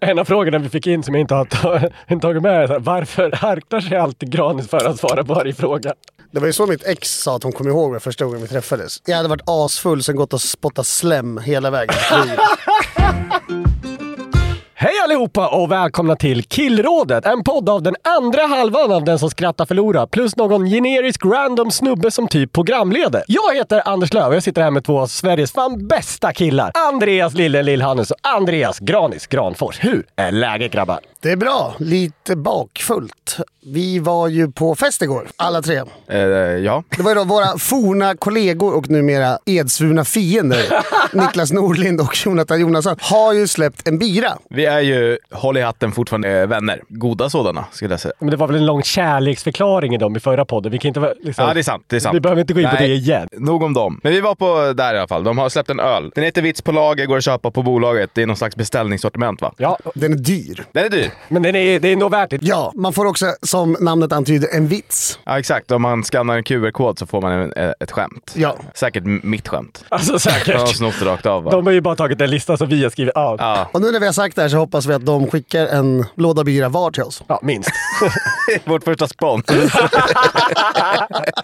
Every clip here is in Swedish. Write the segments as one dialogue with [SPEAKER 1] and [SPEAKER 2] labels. [SPEAKER 1] En av frågorna vi fick in som jag inte har ta- tagit med är så här, varför harklar sig alltid Granis för att svara på varje fråga?
[SPEAKER 2] Det var ju så mitt ex sa att hon kom ihåg mig första gången vi träffades. Jag hade varit asfull sen gått och spottat slem hela vägen.
[SPEAKER 1] Hej allihopa och välkomna till Killrådet! En podd av den andra halvan av den som skrattar förlorar plus någon generisk random snubbe som typ programleder. Jag heter Anders Löf och jag sitter här med två av Sveriges fan bästa killar. Andreas Lille Lill-Hannes och Andreas Granis Granfors. Hur är läget grabbar?
[SPEAKER 2] Det är bra, lite bakfullt. Vi var ju på fest igår, alla tre.
[SPEAKER 3] Eh, ja.
[SPEAKER 2] Det var ju då våra forna kollegor och numera edsvurna fiender, Niklas Norlind och Jonathan Jonasson, har ju släppt en bira.
[SPEAKER 3] Vi är ju, håll i hatten, fortfarande eh, vänner. Goda sådana, skulle jag säga.
[SPEAKER 1] Men det var väl en lång kärleksförklaring i dem i förra podden. Vi kan inte vara- liksom...
[SPEAKER 3] Ja, det är sant. Det är sant.
[SPEAKER 1] Vi behöver inte gå in på
[SPEAKER 3] Nej,
[SPEAKER 1] det igen.
[SPEAKER 3] Nog om dem. Men vi var på där i alla fall. De har släppt en öl. Den heter Vits på lager, går att köpa på bolaget. Det är någon slags beställningssortiment va?
[SPEAKER 1] Ja,
[SPEAKER 2] Den är dyr.
[SPEAKER 3] Den är dyr.
[SPEAKER 1] men den är, det är nog värt det.
[SPEAKER 2] Ja, man får också, som namnet antyder, en vits.
[SPEAKER 3] Ja, exakt. Om man skannar en QR-kod så får man en, eh, ett skämt.
[SPEAKER 2] Ja.
[SPEAKER 3] Säkert m- mitt skämt.
[SPEAKER 1] Alltså
[SPEAKER 3] Jag har
[SPEAKER 1] säkert.
[SPEAKER 3] snott det rakt av va?
[SPEAKER 1] De har ju bara tagit en lista som vi har skrivit av. Ja.
[SPEAKER 3] Ja,
[SPEAKER 2] Och nu när vi har sagt det här så hoppas vi att de skickar en låda bira var till oss.
[SPEAKER 1] minst.
[SPEAKER 3] vårt första spån.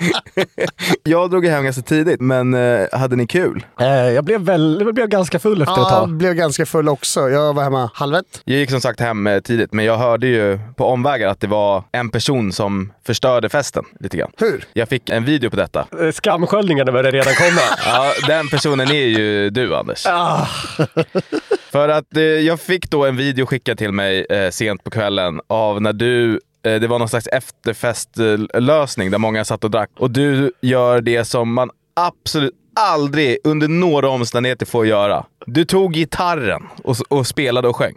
[SPEAKER 3] jag drog ju hem ganska tidigt, men eh, hade ni kul?
[SPEAKER 1] Eh, jag blev, väl, jag blev ganska full efter ett
[SPEAKER 2] Ja,
[SPEAKER 1] tag.
[SPEAKER 2] blev ganska full också. Jag var hemma halv ett.
[SPEAKER 3] Jag gick som sagt hem eh, tidigt, men jag hörde ju på omvägar att det var en person som förstörde festen lite grann.
[SPEAKER 2] Hur?
[SPEAKER 3] Jag fick en video på detta.
[SPEAKER 1] Eh, Skamsköljningarna började redan komma.
[SPEAKER 3] Ja, den personen är ju du Anders.
[SPEAKER 1] Ah.
[SPEAKER 3] För att eh, jag fick då en video skickad till mig eh, sent på kvällen av när du eh, det var någon slags efterfestlösning där många satt och drack. Och du gör det som man absolut aldrig under några omständigheter får göra. Du tog gitarren och, s- och spelade och sjöng.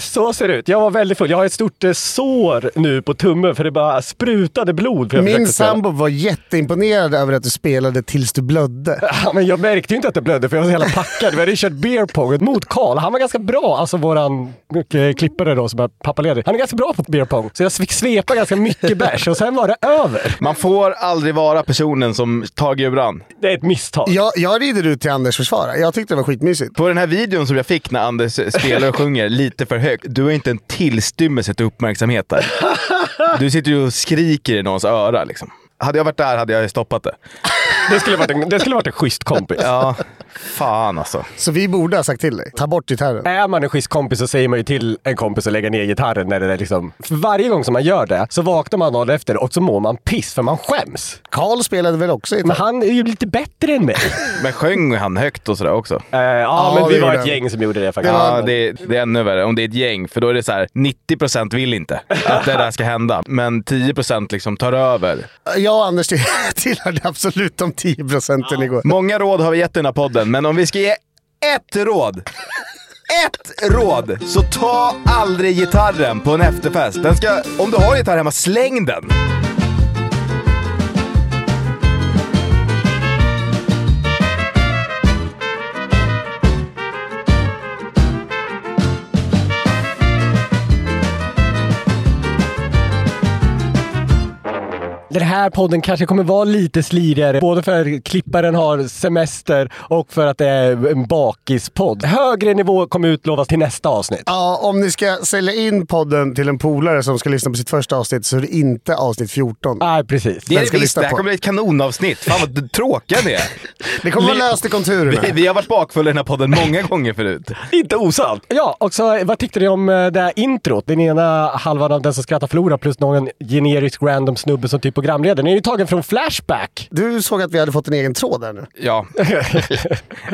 [SPEAKER 1] Så ser det ut. Jag var väldigt full. Jag har ett stort eh, sår nu på tummen för det bara sprutade blod. För jag
[SPEAKER 2] Min
[SPEAKER 1] försökte spela.
[SPEAKER 2] sambo var jätteimponerad över att du spelade tills du blödde.
[SPEAKER 1] Ja, men jag märkte ju inte att det blödde för jag var så jävla packad. Vi hade ju kört beer pong mot Karl. Han var ganska bra, alltså våran eh, klippare då som är pappaledig. Han är ganska bra på beer pong. Så jag fick svepa ganska mycket bärs och sen var det över.
[SPEAKER 3] Man får aldrig vara personen som tar guran.
[SPEAKER 1] Det är ett misstag.
[SPEAKER 2] Jag, jag rider ut till Anders försvar. Jag tyckte det var skitmysigt.
[SPEAKER 3] På den här videon som jag fick när Anders spelar och sjunger lite för högt, du har inte en tillstymmelse till uppmärksamhet där. Du sitter ju och skriker i någons öra liksom. Hade jag varit där hade jag ju stoppat det.
[SPEAKER 1] Det skulle varit en, det skulle varit en schysst kompis.
[SPEAKER 3] Ja, fan alltså.
[SPEAKER 2] Så vi borde ha sagt till dig. Ta bort gitarren.
[SPEAKER 1] Är man en schysst kompis så säger man ju till en kompis att lägga ner gitarren när det är liksom... För varje gång som man gör det så vaknar man dagen efter och så mår man piss för man skäms.
[SPEAKER 2] Karl spelade väl också
[SPEAKER 1] Men
[SPEAKER 2] gitarr?
[SPEAKER 1] han är ju lite bättre än mig.
[SPEAKER 3] Men sjöng han högt och sådär också?
[SPEAKER 1] Eh, ja,
[SPEAKER 2] Ja,
[SPEAKER 1] men
[SPEAKER 2] det
[SPEAKER 1] vi var
[SPEAKER 2] gjorde
[SPEAKER 1] ett
[SPEAKER 2] han.
[SPEAKER 1] gäng som gjorde det faktiskt.
[SPEAKER 3] Ja, det, det är ännu värre om det är ett gäng, för då är det så här 90% vill inte att det där ska hända, men 10% liksom tar över.
[SPEAKER 2] Jag och Anders till- tillhörde absolut de 10 procenten igår.
[SPEAKER 3] Många råd har vi gett i den här podden, men om vi ska ge ett råd. Ett råd! Så ta aldrig gitarren på en efterfest. Den ska, om du har en gitarr hemma, släng den!
[SPEAKER 1] Den här podden kanske kommer vara lite slirigare, både för att klipparen har semester och för att det är en bakispodd. Högre nivå kommer utlovas till nästa avsnitt.
[SPEAKER 2] Ja, om ni ska sälja in podden till en polare som ska lyssna på sitt första avsnitt så är det inte avsnitt 14.
[SPEAKER 1] Nej, precis.
[SPEAKER 3] Det,
[SPEAKER 2] Vem
[SPEAKER 3] är
[SPEAKER 2] ska
[SPEAKER 3] det, visst,
[SPEAKER 2] lyssna
[SPEAKER 3] det här
[SPEAKER 2] på?
[SPEAKER 3] kommer bli ett kanonavsnitt. Fan vad d- tråkiga ni är.
[SPEAKER 2] Det kommer vara
[SPEAKER 3] Li-
[SPEAKER 2] löst i konturerna.
[SPEAKER 3] Vi, vi har varit bakfulla i den här podden många gånger förut.
[SPEAKER 1] Inte osant. Ja, och så vad tyckte ni om eh, det här introt? Den ena halvan av Den som skrattar förlorar plus någon generisk random snubbe som typ programledare. Den är ju tagen från Flashback.
[SPEAKER 2] Du såg att vi hade fått en egen tråd där nu.
[SPEAKER 3] Ja.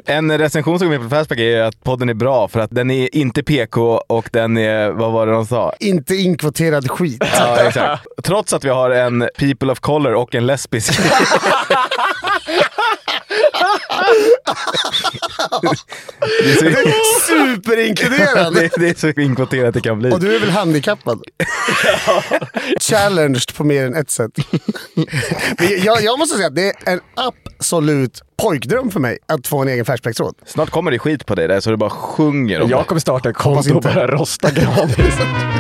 [SPEAKER 3] En recension som kom in på Fastback är att podden är bra för att den är inte PK och den är, vad var det de sa?
[SPEAKER 2] Inte inkvoterad skit.
[SPEAKER 3] Ja, exakt. Trots att vi har en people of color och en lesbisk. det, är så,
[SPEAKER 2] Superinkluderande!
[SPEAKER 3] det, det är så inkvoterat det kan bli.
[SPEAKER 2] Och du är väl handikappad? Challenged på mer än ett sätt. Men jag, jag måste säga att det är en absolut pojkdröm för mig att få en egen Flashback-tråd.
[SPEAKER 3] Snart kommer det skit på dig där så du bara sjunger om
[SPEAKER 1] Jag kommer starta en konto och
[SPEAKER 2] inte.
[SPEAKER 1] börja rosta gratis.
[SPEAKER 3] det.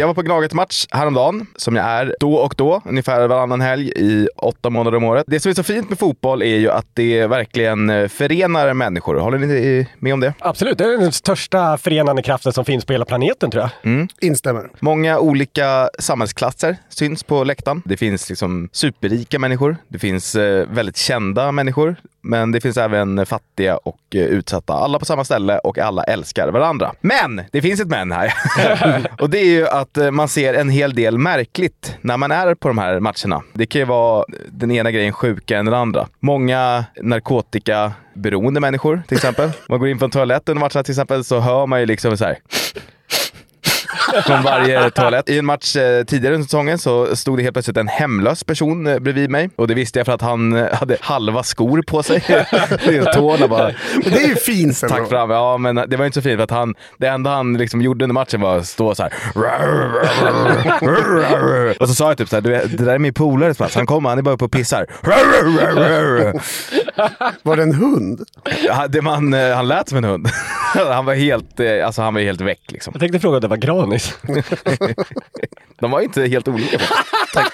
[SPEAKER 3] Jag var på Gnaget-match häromdagen, som jag är då och då, ungefär varannan helg i åtta månader om året. Det som är så fint med fotboll är ju att det verkligen eh, förenar människor. Håller ni i- med om det?
[SPEAKER 1] Absolut, det är den största förenande kraften som finns på hela planeten tror jag.
[SPEAKER 2] Instämmer.
[SPEAKER 3] Många olika samhällsklasser syns på läktaren. Det finns liksom superrika människor. Det finns eh, väldigt kända människor. Men det finns även fattiga och eh, utsatta. Alla på samma ställe och alla älskar varandra. Men! Det finns ett men här. och det är ju att eh, man ser en hel del märkligt när man är på de här matcherna. Det kan ju vara den ena grejen sjukare än den andra. Många narkotikaberoende människor till exempel. Man går in från toaletten under matcherna till exempel så hör man ju liksom så här från varje toalett. I en match eh, tidigare under säsongen så stod det helt plötsligt en hemlös person eh, bredvid mig. Och det visste jag för att han eh, hade halva skor på sig. Det är Tårna bara
[SPEAKER 2] Men det är ju fint sen.
[SPEAKER 3] stack fram. Ja, men det var inte så fint för att han, det enda han liksom gjorde under matchen var att stå så här. Och så sa jag typ så här, "Du, det där är min polares match. Han kommer, han är bara uppe och pissar.
[SPEAKER 2] Var det en hund?
[SPEAKER 3] Ja, Det man, eh, han lät som en hund. Han var helt, eh, alltså han var helt väck liksom.
[SPEAKER 1] Jag tänkte fråga om det var Granis.
[SPEAKER 3] De var inte helt olika. Tack.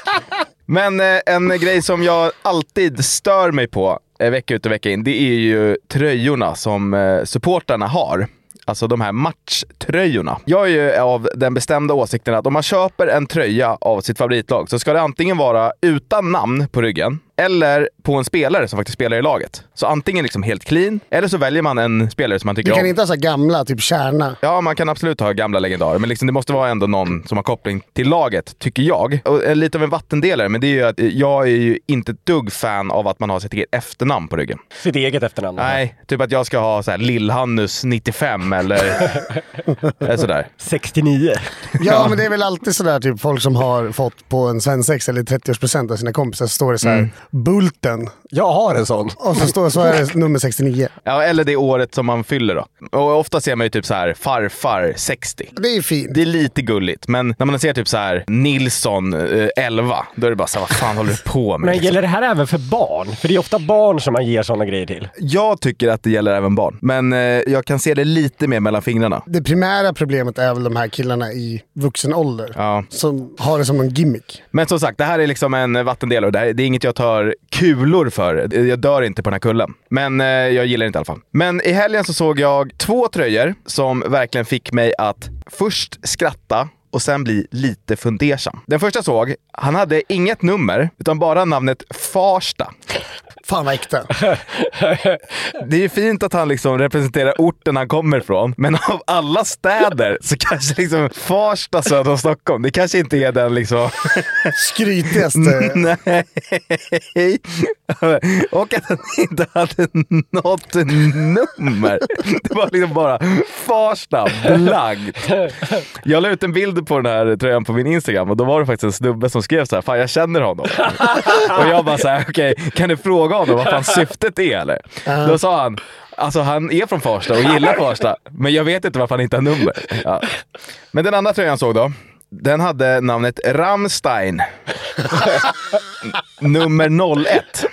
[SPEAKER 3] Men eh, en grej som jag alltid stör mig på eh, vecka ut och vecka in, det är ju tröjorna som eh, supportrarna har. Alltså de här matchtröjorna. Jag är ju av den bestämda åsikten att om man köper en tröja av sitt favoritlag så ska det antingen vara utan namn på ryggen eller på en spelare som faktiskt spelar i laget. Så antingen liksom helt clean, eller så väljer man en spelare som man tycker
[SPEAKER 2] Du kan
[SPEAKER 3] om.
[SPEAKER 2] inte ha så här gamla, typ kärna.
[SPEAKER 3] Ja, man kan absolut ha gamla legendarer, men liksom, det måste vara ändå någon som har koppling till laget, tycker jag. Och eh, lite av en vattendelare, men det är ju att eh, jag är ju inte ett dugg fan av att man har sitt eget efternamn på ryggen.
[SPEAKER 1] Sitt eget efternamn.
[SPEAKER 3] Nej, typ att jag ska ha så här Lill-Hannus 95 eller eller sådär.
[SPEAKER 1] 69.
[SPEAKER 2] Ja, men det är väl alltid sådär typ folk som har fått på en svensexa eller 30-årspresent av sina kompisar så står det så här Bulten
[SPEAKER 1] Jag har en sån.
[SPEAKER 2] och så, står, så är det nummer 69.
[SPEAKER 3] Ja, eller det året som man fyller då. Och ofta ser man ju typ så här farfar 60.
[SPEAKER 2] Det är fint.
[SPEAKER 3] Det är lite gulligt, men när man ser typ så här Nilsson eh, 11, då är det bara så här, vad fan håller du på med?
[SPEAKER 1] Men
[SPEAKER 3] liksom?
[SPEAKER 1] gäller det här även för barn? För det är ofta barn som man ger sådana grejer till.
[SPEAKER 3] Jag tycker att det gäller även barn, men eh, jag kan se det lite mer mellan fingrarna.
[SPEAKER 2] Det primära problemet är väl de här killarna i vuxen ålder
[SPEAKER 3] Ja.
[SPEAKER 2] som har det som en gimmick.
[SPEAKER 3] Men som sagt, det här är liksom en vattendelare. Det, här, det är inget jag tar kulor för. Eh, Jag dör inte på den här kullen. Men eh, jag gillar det inte i alla fall. Men i helgen så såg jag två tröjor som verkligen fick mig att först skratta och sen bli lite fundersam. Den första jag såg, han hade inget nummer, utan bara namnet Farsta.
[SPEAKER 2] Fan vad äkta.
[SPEAKER 3] Det är ju fint att han liksom representerar orten han kommer ifrån, men av alla städer så kanske liksom Farsta söder om Stockholm, det kanske inte är den liksom... Mm,
[SPEAKER 2] Skrytigaste.
[SPEAKER 3] Nej! Och att han inte hade något nummer. Det var liksom bara Farsta, blankt. Jag la ut en bild på den här tröjan på min Instagram och då var det faktiskt en snubbe som skrev så här, fan jag känner honom. och jag bara så här, okej, kan du fråga honom vad fan syftet är eller? Då sa han, alltså han är från Farsta och gillar Farsta, men jag vet inte varför han inte har nummer. Ja. Men den andra tröjan jag såg då, den hade namnet Rammstein. Nummer 01.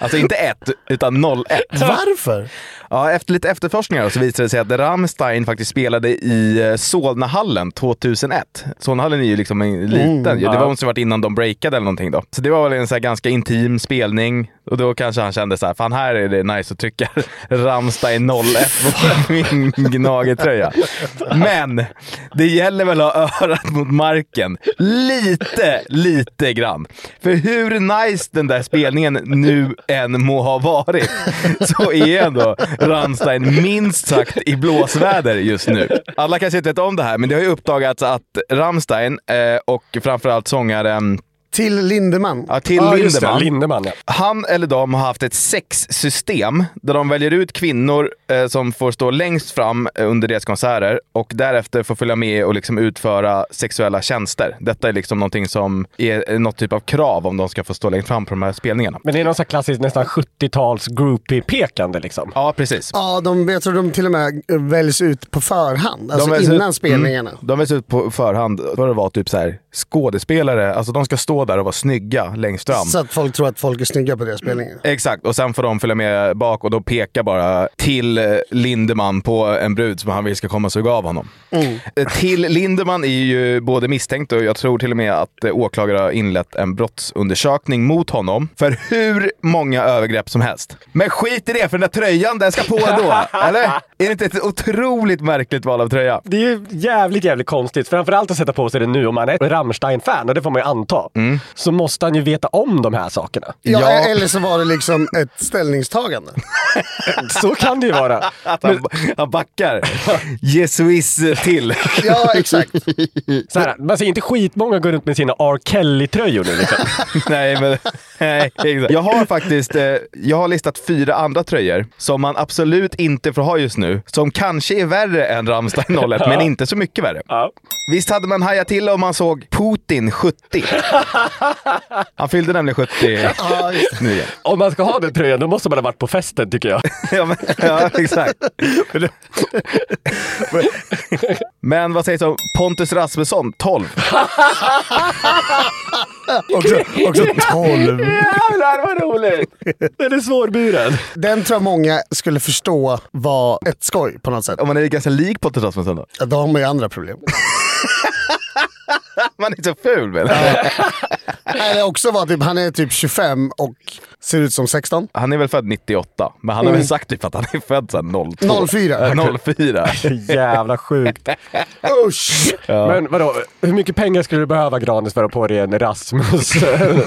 [SPEAKER 3] Alltså inte ett, utan 01.
[SPEAKER 2] Varför?
[SPEAKER 3] Ja, efter lite efterforskningar så visade det sig att Rammstein faktiskt spelade i eh, Solnahallen 2001. Solnahallen är ju liksom en liten, ja, det var måste ha varit innan de breakade eller någonting då. Så det var väl en så här ganska intim spelning och då kanske han kände så här, fan här är det nice att trycka Rammstein 01 på min Gnagertröja. Men det gäller väl att ha örat mot marken lite, lite grann. För hur nice den där spelningen nu än må ha varit så är ändå Rammstein minst sagt i blåsväder just nu. Alla kanske inte vet om det här, men det har ju uppdagats att Rammstein eh, och framförallt sångaren
[SPEAKER 2] Till Lindeman.
[SPEAKER 3] ja, Till
[SPEAKER 1] Ja, just det.
[SPEAKER 3] Lindemann
[SPEAKER 1] Lindemann, ja.
[SPEAKER 3] han eller de har haft ett sexsystem där de väljer ut kvinnor eh, som får stå längst fram eh, under deras konserter och därefter får följa med och liksom utföra sexuella tjänster. Detta är liksom någonting som är eh, något typ av krav om de ska få stå längst fram på de här spelningarna.
[SPEAKER 1] Men det är någon sån här klassisk nästan 70-tals groupie-pekande liksom.
[SPEAKER 3] Ja, precis.
[SPEAKER 2] Ja, de, jag tror de till och med eh, väljs ut på förhand. Alltså
[SPEAKER 3] väljs
[SPEAKER 2] innan
[SPEAKER 3] ut-
[SPEAKER 2] spelningarna.
[SPEAKER 3] Mm, de väljs ut på förhand för att vara typ så här, skådespelare. Alltså de ska stå där och vara snygga längst fram.
[SPEAKER 2] Så att folk tror att folk är snygga på deras spelningar.
[SPEAKER 3] Exakt, och sen får de följa med bak och då pekar bara till eh, Lindemann på en brud som han vill ska komma och suga av honom. Eh, Till Lindemann är ju både misstänkt och jag tror till och med att eh, åklagare har inlett en brottsundersökning mot honom för hur många övergrepp som helst. Men skit i det, för den där tröjan den ska på då, eller? Är det inte ett otroligt märkligt val av tröja?
[SPEAKER 1] Det är ju jävligt, jävligt konstigt. Framförallt att sätta på sig det nu om man är Rammstein-fan, och det får man ju anta. Så måste han ju veta om de här sakerna.
[SPEAKER 2] Ja,
[SPEAKER 3] Ja.
[SPEAKER 2] Eller så var det liksom ett ställningstagande.
[SPEAKER 1] Så kan det ju vara.
[SPEAKER 3] Att han, han backar. Jesuis till.
[SPEAKER 2] Ja, exakt.
[SPEAKER 1] Så här, man ser inte skitmånga gå runt med sina R. Kelly-tröjor nu liksom.
[SPEAKER 3] nej, men... Nej, exakt. Jag har faktiskt eh, jag har listat fyra andra tröjor som man absolut inte får ha just nu. Som kanske är värre än Rammstein 01, men inte så mycket värre.
[SPEAKER 1] Ja.
[SPEAKER 3] Visst hade man hajat till om man såg Putin 70? Han fyllde nämligen 70
[SPEAKER 2] Ja, just det.
[SPEAKER 3] nu igen.
[SPEAKER 1] Om man ska ha den tröjan, då måste man ha varit på festen tycker jag.
[SPEAKER 3] Ja, men, ja exakt. Men vad sägs om Pontus Rasmusson 12?
[SPEAKER 2] Också, också 12.
[SPEAKER 1] Jävlar vad roligt! Den är svårburen.
[SPEAKER 2] Den tror jag många skulle förstå var ett skoj på något sätt.
[SPEAKER 3] Om man är ganska lik Pontus Rasmusson då?
[SPEAKER 2] Ja, Då har man ju andra problem.
[SPEAKER 3] Man är så ful väl?
[SPEAKER 2] Eller också var typ, han är typ 25 och ser ut som 16.
[SPEAKER 3] Han är väl född 98, men han har väl sagt typ att han är född sen 02.
[SPEAKER 2] 04.
[SPEAKER 3] Äh, 04.
[SPEAKER 1] Jävla sjukt.
[SPEAKER 2] Usch!
[SPEAKER 1] Men vadå, hur mycket pengar skulle du behöva Granis för att på dig en Rasmus?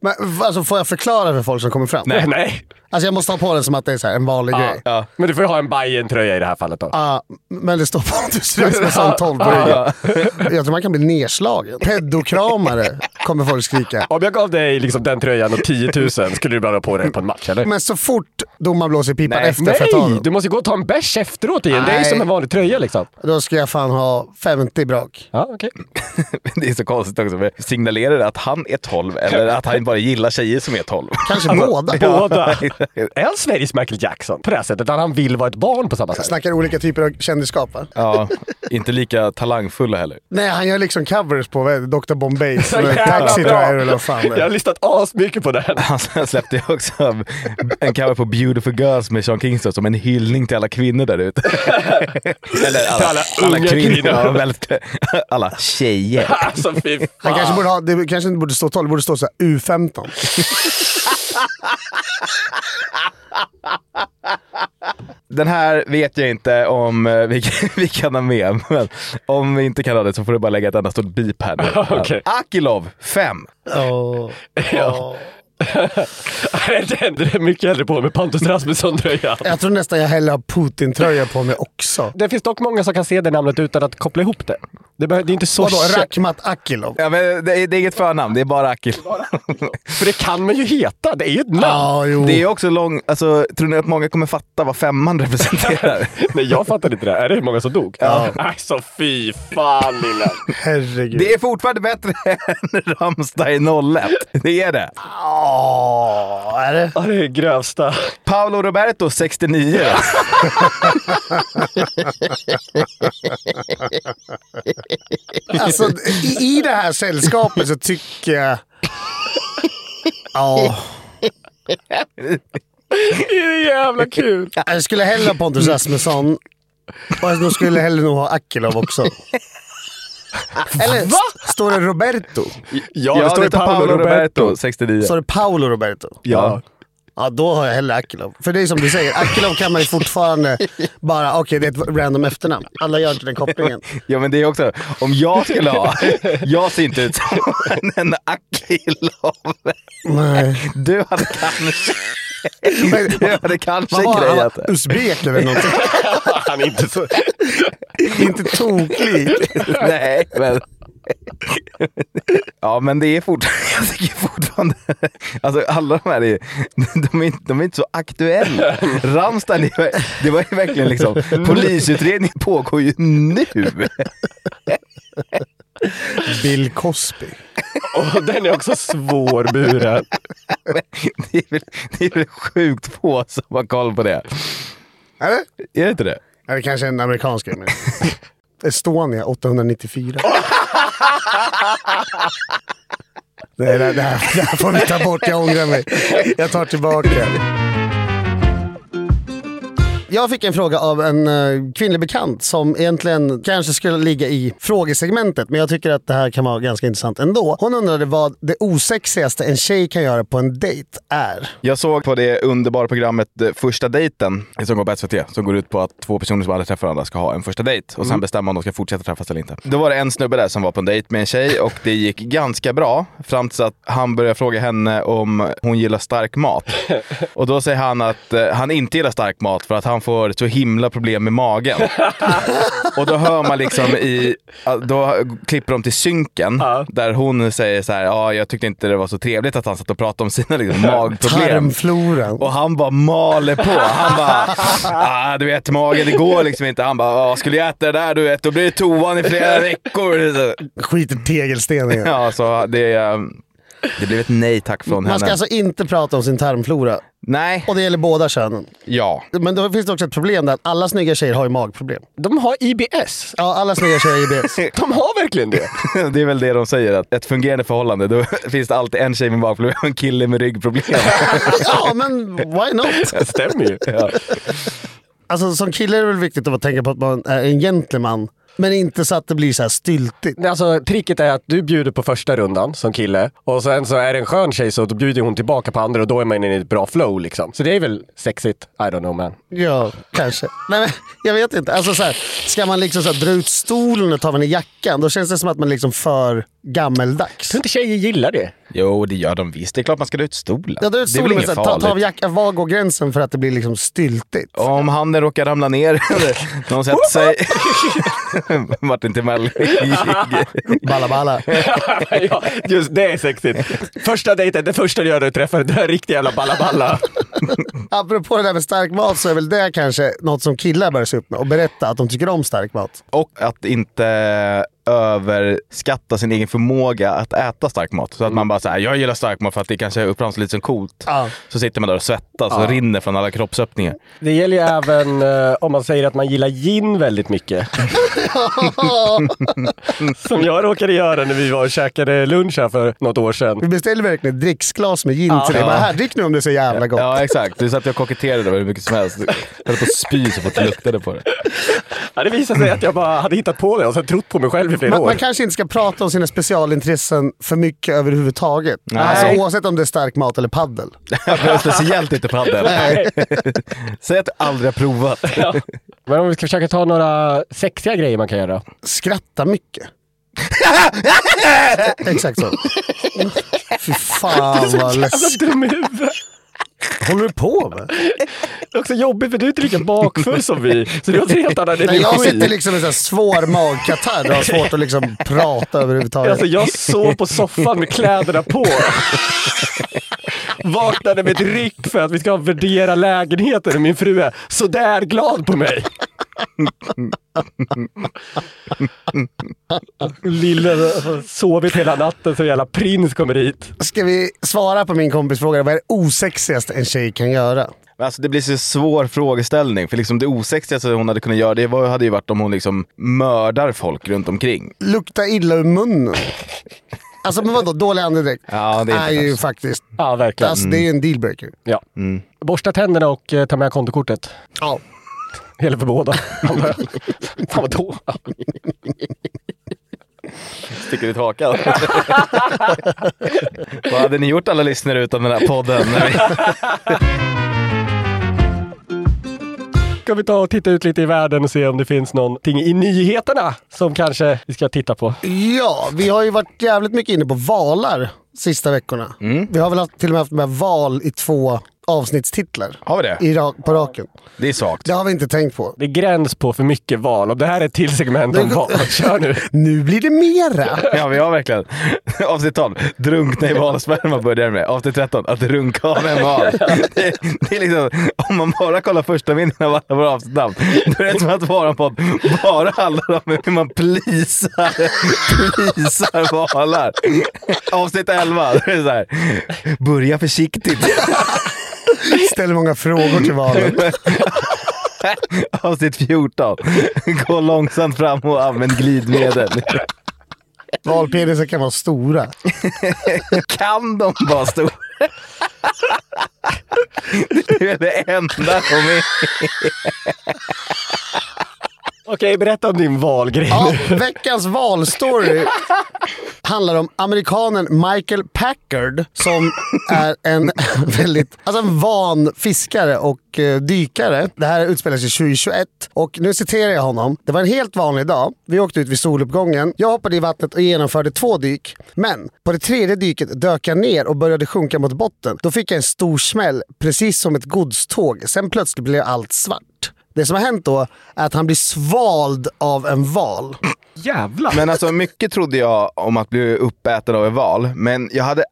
[SPEAKER 2] Men, v- alltså, får jag förklara för folk som kommer fram?
[SPEAKER 1] Nej. Nej.
[SPEAKER 2] Alltså, jag måste ha på den som att det är så här, en vanlig grej.
[SPEAKER 3] Ja.
[SPEAKER 1] Men du får ju ha en bayern tröja i det här fallet då.
[SPEAKER 2] Ja, men det står Pontus Rasmusson 12 på ryggen. Jag tror man kan bli nedslagen. Pedokramare kommer folk skrika.
[SPEAKER 1] Om jag gav dig liksom den tröjan och 10 000 skulle du behöva på dig på en match eller?
[SPEAKER 2] Men så fort domaren blåser i pipan
[SPEAKER 3] Nej,
[SPEAKER 2] efter för att ta
[SPEAKER 1] Nej!
[SPEAKER 2] den,
[SPEAKER 1] Du måste ju gå och ta en bärs efteråt igen. Det är ju
[SPEAKER 2] Nej.
[SPEAKER 1] som en vanlig tröja liksom.
[SPEAKER 2] då ska jag fan ha 50 brak.
[SPEAKER 1] Ja, okej.
[SPEAKER 3] Det är så konstigt också, för signalerar det att han är 12 eller att han bara gillar tjejer som är 12?
[SPEAKER 2] Kanske
[SPEAKER 1] Alltså,
[SPEAKER 2] båda.
[SPEAKER 1] Båda. Är han Sveriges Michael Jackson på det här sättet? Att han vill vara ett barn på samma sätt?
[SPEAKER 2] Snackar olika typer av kändisskap va?
[SPEAKER 3] Ja, inte lika talangfulla heller.
[SPEAKER 2] Nej, han gör liksom covers på vad är det, Dr Bombay,
[SPEAKER 1] Så jävla
[SPEAKER 2] Taxi
[SPEAKER 1] bra.
[SPEAKER 2] Driver eller vad fan det
[SPEAKER 1] Jag har
[SPEAKER 2] är.
[SPEAKER 1] listat asmycket på den.
[SPEAKER 3] Han släppte ju också en cover på Beautiful Girls med Sean Kingston som en hyllning till alla kvinnor där ute. Eller alla,
[SPEAKER 1] alla unga kvinnor.
[SPEAKER 3] Ja, väldigt, alla tjejer.
[SPEAKER 1] Alltså fy
[SPEAKER 2] Han kanske borde ha, det kanske inte borde stå 12, det borde stå så här, U15.
[SPEAKER 3] Den här vet jag inte om eh, vi, kan- vi kan ha med, men om vi inte kan ha det så får du bara lägga ett enda stort beep här nu.
[SPEAKER 1] Okej.
[SPEAKER 3] Akilov 5.
[SPEAKER 2] Oh, oh.
[SPEAKER 1] Den den är mycket hellre på med Pontus Rasmusson-tröjan.
[SPEAKER 2] Jag tror nästan jag hellre har Putin-tröja på mig också.
[SPEAKER 1] Det finns dock många som kan se det namnet utan att koppla ihop det. Det, beh- det är inte så...
[SPEAKER 2] Vadå,
[SPEAKER 1] känt,
[SPEAKER 2] Rakhmat Akilov?
[SPEAKER 3] Ja, men det, är- det är inget förnamn, det är bara Akilov.
[SPEAKER 1] För det kan man ju heta. Det är ju ett namn.
[SPEAKER 2] Ja, jo.
[SPEAKER 3] Det är också lång, alltså, tror ni att många kommer fatta vad femman representerar?
[SPEAKER 1] Nej, jag fattar inte det. Är det hur många som dog? Ja. Alltså fy fan lilla.
[SPEAKER 2] Herregud.
[SPEAKER 3] det är fortfarande bättre än Rammstein 01. Det är det.
[SPEAKER 2] Ja, är det?
[SPEAKER 1] Ja, det är grövsta.
[SPEAKER 3] Paolo Roberto 69.
[SPEAKER 2] Alltså, i, i det här sällskapet så tycker jag... Ja.
[SPEAKER 1] Det är jävla kul.
[SPEAKER 2] Jag skulle hellre ha Pontus Rasmusson. Och då skulle jag hellre nog ha Akilov också. Eller st- står det Roberto?
[SPEAKER 1] Ja, det står ju
[SPEAKER 3] tar
[SPEAKER 1] Paolo Roberto.
[SPEAKER 3] 69.
[SPEAKER 2] Står det Paolo Roberto?
[SPEAKER 1] Ja.
[SPEAKER 2] Ja, då har jag hellre Akilov. För det är som du säger, Akilov kan man ju fortfarande bara, okej det är ett random efternamn. Alla gör inte den kopplingen.
[SPEAKER 3] Ja men det är också, om jag skulle ha, jag ser inte ut som en Akilov.
[SPEAKER 2] Nej.
[SPEAKER 3] Du hade kanske, du hade kanske
[SPEAKER 2] Vad var han? Han
[SPEAKER 3] grejat
[SPEAKER 2] var Uzbek eller någonting.
[SPEAKER 1] Han är inte så...
[SPEAKER 2] inte toklig.
[SPEAKER 3] Nej, men... Ja, men det är fortfarande... Jag tycker fortfarande... Alltså alla de här är, de är, inte- de är inte så aktuella. Rammstein, det var, det var ju verkligen liksom... Polisutredningen pågår ju nu.
[SPEAKER 2] Bill Cosby.
[SPEAKER 1] Och den är också svårburen.
[SPEAKER 3] Det är väl, det är väl sjukt få som har koll på det.
[SPEAKER 2] Eller?
[SPEAKER 3] Är det inte det?
[SPEAKER 2] Eller kanske en amerikansk grej. men- Estonia 894. Nej, det, det, här, det här får vi ta bort. Jag ångrar mig. Jag tar tillbaka. Jag fick en fråga av en eh, kvinnlig bekant som egentligen kanske skulle ligga i frågesegmentet, men jag tycker att det här kan vara ganska intressant ändå. Hon undrade vad det osexigaste en tjej kan göra på en dejt är.
[SPEAKER 3] Jag såg på det underbara programmet eh, Första dejten som går på SVT. Som går ut på att två personer som aldrig träffar varandra ska ha en första dejt och sen bestämma om de ska fortsätta träffas eller inte. Då var det en snubbe där som var på en dejt med en tjej och det gick ganska bra fram tills att han började fråga henne om hon gillar stark mat. Och då säger han att eh, han inte gillar stark mat för att han får så himla problem med magen. Och då hör man liksom i, då klipper de till synken där hon säger så här, ja jag tyckte inte det var så trevligt att han satt och pratade om sina liksom, magproblem.
[SPEAKER 2] Tarmfloran.
[SPEAKER 3] Och han bara maler på. Han bara, ah, du vet magen, det går liksom inte. Han bara, ah, skulle jag äta det där du vet, då blir det toan i flera veckor.
[SPEAKER 2] Skiter tegelsten i.
[SPEAKER 3] Ja, så det, eh, det blev ett nej tack från
[SPEAKER 2] Man ska
[SPEAKER 3] henne.
[SPEAKER 2] alltså inte prata om sin tarmflora.
[SPEAKER 3] Nej,
[SPEAKER 2] Och det gäller båda könen.
[SPEAKER 3] ja.
[SPEAKER 2] Men då finns det också ett problem där att alla snygga tjejer har ju magproblem.
[SPEAKER 1] De har IBS.
[SPEAKER 2] Ja, alla snygga tjejer är IBS.
[SPEAKER 1] De har verkligen det.
[SPEAKER 3] Det är väl det de säger, att ett fungerande förhållande, då finns det alltid en tjej med magproblem och en kille med ryggproblem.
[SPEAKER 2] Ja, men why not?
[SPEAKER 1] Det stämmer ju.
[SPEAKER 2] Alltså som kille är det väl viktigt att tänka på att man är en gentleman. Men inte så att det blir så här styltigt.
[SPEAKER 1] Alltså, tricket är att du bjuder på första rundan som kille och sen så är det en skön tjej så då bjuder hon tillbaka på andra och då är man inne i ett bra flow liksom. Så det är väl sexigt. I don't know man.
[SPEAKER 2] Ja, kanske. Nej, men, jag vet inte. Alltså, så här, ska man liksom så här, dra ut stolen och ta den i jackan, då känns det som att man är liksom för gammeldags.
[SPEAKER 1] tror inte tjejer gillar det.
[SPEAKER 3] Jo, det gör de visst. Det är klart man ska dra ut stolen.
[SPEAKER 2] Ja, dra ut
[SPEAKER 3] det är
[SPEAKER 2] stolen
[SPEAKER 3] väl
[SPEAKER 2] men så
[SPEAKER 3] inget
[SPEAKER 2] här, ta,
[SPEAKER 3] farligt.
[SPEAKER 2] ta av jackan. Var går gränsen för att det blir liksom styltigt?
[SPEAKER 3] Om handen råkar ramla ner eller någon sätter sig. Martin Timell.
[SPEAKER 2] Balla balla.
[SPEAKER 1] ja, just det är sexigt. Första dejten, det första du gör när du träffar den där riktiga jävla balla-balla.
[SPEAKER 2] Apropå det där med stark mat så är väl det kanske något som killar bör se upp med och berätta att de tycker om stark mat.
[SPEAKER 3] Och att inte överskatta sin egen förmåga att äta stark mat. Så att man bara säger jag gillar stark mat för att det kanske uppfattas lite som coolt.
[SPEAKER 2] Ja.
[SPEAKER 3] Så sitter man där och svettas och rinner från alla kroppsöppningar.
[SPEAKER 1] Det gäller ju även eh, om man säger att man gillar gin väldigt mycket. Som jag råkade göra när vi var och käkade lunch här för något år sedan.
[SPEAKER 2] Vi beställer verkligen ett dricksglas med gin till dig. Bara, här, drick nu om det är så jävla gott.
[SPEAKER 3] Ja exakt, du satt och koketterade över hur mycket som helst. Jag höll på att spy så fort jag luktade på det.
[SPEAKER 1] Ja, det visade sig att jag bara hade hittat på det och sen trott på mig själv i flera
[SPEAKER 2] Man,
[SPEAKER 1] år.
[SPEAKER 2] man kanske inte ska prata om sina specialintressen för mycket överhuvudtaget.
[SPEAKER 3] Nej.
[SPEAKER 2] Alltså, oavsett om det är stark mat eller paddel.
[SPEAKER 3] Speciellt inte padel. Säg att du aldrig har provat.
[SPEAKER 1] Men om vi ska försöka ta några sexiga grejer man kan göra.
[SPEAKER 2] Skratta mycket. Exakt så. Fy fan vad läskigt.
[SPEAKER 1] Alltså, dum i huvudet.
[SPEAKER 2] håller du på med?
[SPEAKER 1] Det är också jobbigt för du är inte lika bakfull som vi. Så du har en helt annan
[SPEAKER 2] Nej,
[SPEAKER 1] energi.
[SPEAKER 2] jag sitter liksom i en sån här svår magkatarr och har svårt att liksom prata överhuvudtaget.
[SPEAKER 1] Alltså jag sov på soffan med kläderna på. Vaknade med ett ryck för att vi ska värdera lägenheten och min fru är sådär glad på mig. Lille har sovit hela natten så jävla prins kommer hit.
[SPEAKER 2] Ska vi svara på min kompis fråga? Vad är det osexigaste en tjej kan göra?
[SPEAKER 3] Men Alltså det blir så svår frågeställning, för liksom det osexigaste hon hade kunnat göra det var, hade ju varit om hon liksom mördar folk runt omkring.
[SPEAKER 2] Lukta illa ur munnen. Alltså men vadå, dålig andedräkt
[SPEAKER 3] Ja, det är inte
[SPEAKER 2] ju
[SPEAKER 3] fräscht.
[SPEAKER 2] faktiskt...
[SPEAKER 1] Ja, verkligen.
[SPEAKER 2] Alltså, Det är ju en dealbreaker.
[SPEAKER 1] Ja. Borsta tänderna och eh, ta med kontokortet.
[SPEAKER 2] Ja.
[SPEAKER 1] Det gäller för båda. antar jag. Fan vad då?
[SPEAKER 3] Sticker ut hakan. Vad hade ni gjort alla lyssnare utan den här podden?
[SPEAKER 1] Ska vi ta och titta ut lite i världen och se om det finns någonting i nyheterna som kanske vi ska titta på.
[SPEAKER 2] Ja, vi har ju varit jävligt mycket inne på valar sista veckorna.
[SPEAKER 3] Mm.
[SPEAKER 2] Vi har väl haft, till och med haft med val i två avsnittstitlar.
[SPEAKER 3] Har vi det?
[SPEAKER 2] I rak, på raken.
[SPEAKER 3] Det är svagt.
[SPEAKER 2] Det har vi inte tänkt på.
[SPEAKER 1] Det är gräns på för mycket val. Om det här är ett till segment om val, kör nu.
[SPEAKER 2] Nu blir det mera!
[SPEAKER 3] Ja, vi har verkligen. Avsnitt 12. Drunkna i valsperma börjar det med. Avsnitt 13. Att runka av en val. Det, det är liksom, om man bara kollar första vinden av alla våra avsnittsnamn. Då är det som att våran podd bara handlar om hur man plisar, plisar valar. Avsnitt 11. Då är det så här. Börja försiktigt.
[SPEAKER 2] Ställer många frågor till valen.
[SPEAKER 3] Avsnitt 14. Gå långsamt fram och använd glidmedel.
[SPEAKER 2] Valpenisar kan vara stora.
[SPEAKER 3] Kan de vara stora? Det är det enda som är...
[SPEAKER 1] Okej, berätta om din valgrej
[SPEAKER 2] Ja,
[SPEAKER 1] nu.
[SPEAKER 2] veckans valstory handlar om amerikanen Michael Packard som är en väldigt alltså en van fiskare och eh, dykare. Det här utspelar sig 2021 och nu citerar jag honom. Det var en helt vanlig dag. Vi åkte ut vid soluppgången. Jag hoppade i vattnet och genomförde två dyk. Men på det tredje dyket dök jag ner och började sjunka mot botten. Då fick jag en stor smäll, precis som ett godståg. Sen plötsligt blev allt svart. Det som har hänt då är att han blir svald av en val.
[SPEAKER 1] Jävlar.
[SPEAKER 3] Men alltså mycket trodde jag om att bli uppäten av en val, men jag hade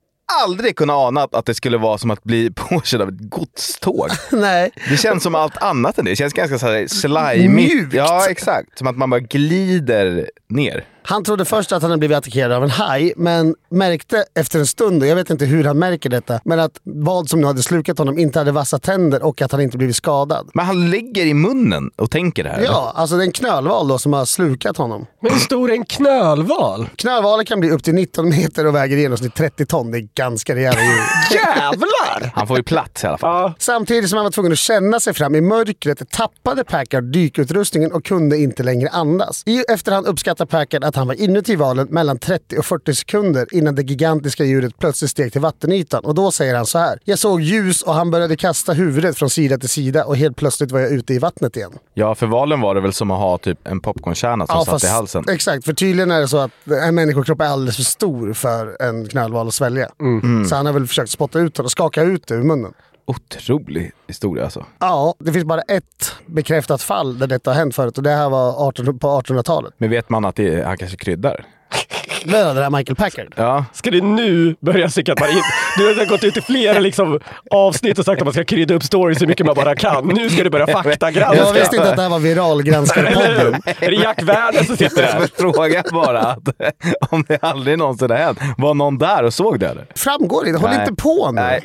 [SPEAKER 3] aldrig kunnat ana att det skulle vara som att bli påkörd av ett godståg.
[SPEAKER 2] Nej.
[SPEAKER 3] Det känns som allt annat än det. Det känns ganska så här slajmigt.
[SPEAKER 2] Mjukt.
[SPEAKER 3] Ja, exakt. Som att man bara glider ner.
[SPEAKER 2] Han trodde först att han hade blivit attackerad av en haj, men märkte efter en stund, och jag vet inte hur han märker detta, men att vad som nu hade slukat honom inte hade vassa tänder och att han inte blivit skadad.
[SPEAKER 3] Men han ligger i munnen och tänker det här.
[SPEAKER 2] Ja, alltså det är en knölval då som har slukat honom.
[SPEAKER 1] Men hur stor är en knölval?
[SPEAKER 2] Knölvalar kan bli upp till 19 meter och väger i genomsnitt 30 ton. Det är ganska rejäla djur.
[SPEAKER 1] Jävlar!
[SPEAKER 3] Han får ju plats i alla fall.
[SPEAKER 1] Ja,
[SPEAKER 2] Samtidigt som han var tvungen att känna sig fram i mörkret tappade Packard dykutrustningen och kunde inte längre andas. I efterhand uppskattar Packard att han var inuti valen mellan 30 och 40 sekunder innan det gigantiska djuret plötsligt steg till vattenytan och då säger han så här. Jag såg ljus och han började kasta huvudet från sida till sida och helt plötsligt var jag ute i vattnet igen.
[SPEAKER 3] Ja, för valen var det väl som att ha typ en popcornkärna som satt i halsen.
[SPEAKER 2] Exakt, för tydligen är det så att en människokropp är alldeles för stor för en knölval att svälja. Så han har väl försökt spotta ut den och skaka ut det ur munnen.
[SPEAKER 3] Otrolig historia alltså.
[SPEAKER 2] Ja, det finns bara ett bekräftat fall där detta har hänt förut och det här var 18, på 1800-talet.
[SPEAKER 3] Men vet man att det är, han kanske kryddar?
[SPEAKER 2] Det var det där Michael Packard.
[SPEAKER 3] Ja.
[SPEAKER 1] Ska du nu börja cykla in? Du har redan gått ut i flera liksom, avsnitt och sagt att man ska krydda upp stories så mycket man bara kan. Nu ska du börja faktagranska.
[SPEAKER 2] Jag visste inte att det här var
[SPEAKER 1] Eller
[SPEAKER 2] viralgranskarpodden.
[SPEAKER 1] hur? Är det Jack Werner som sitter där?
[SPEAKER 3] Fråga bara att, om det aldrig någonsin har hänt. Var någon där och såg det eller?
[SPEAKER 2] Framgår inte, håll
[SPEAKER 3] Nej.
[SPEAKER 2] inte på nu.
[SPEAKER 3] Nej.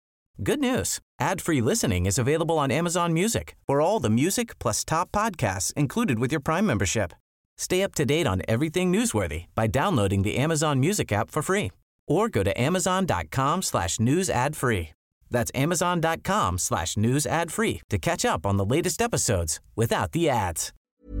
[SPEAKER 4] Good news. Ad-free listening is available on Amazon Music for all the music plus top podcasts included with your Prime membership. Stay up to date on everything newsworthy by downloading the Amazon Music app for free or go to amazon.com slash news ad free. That's amazon.com slash news ad free to catch up on the latest episodes without the ads.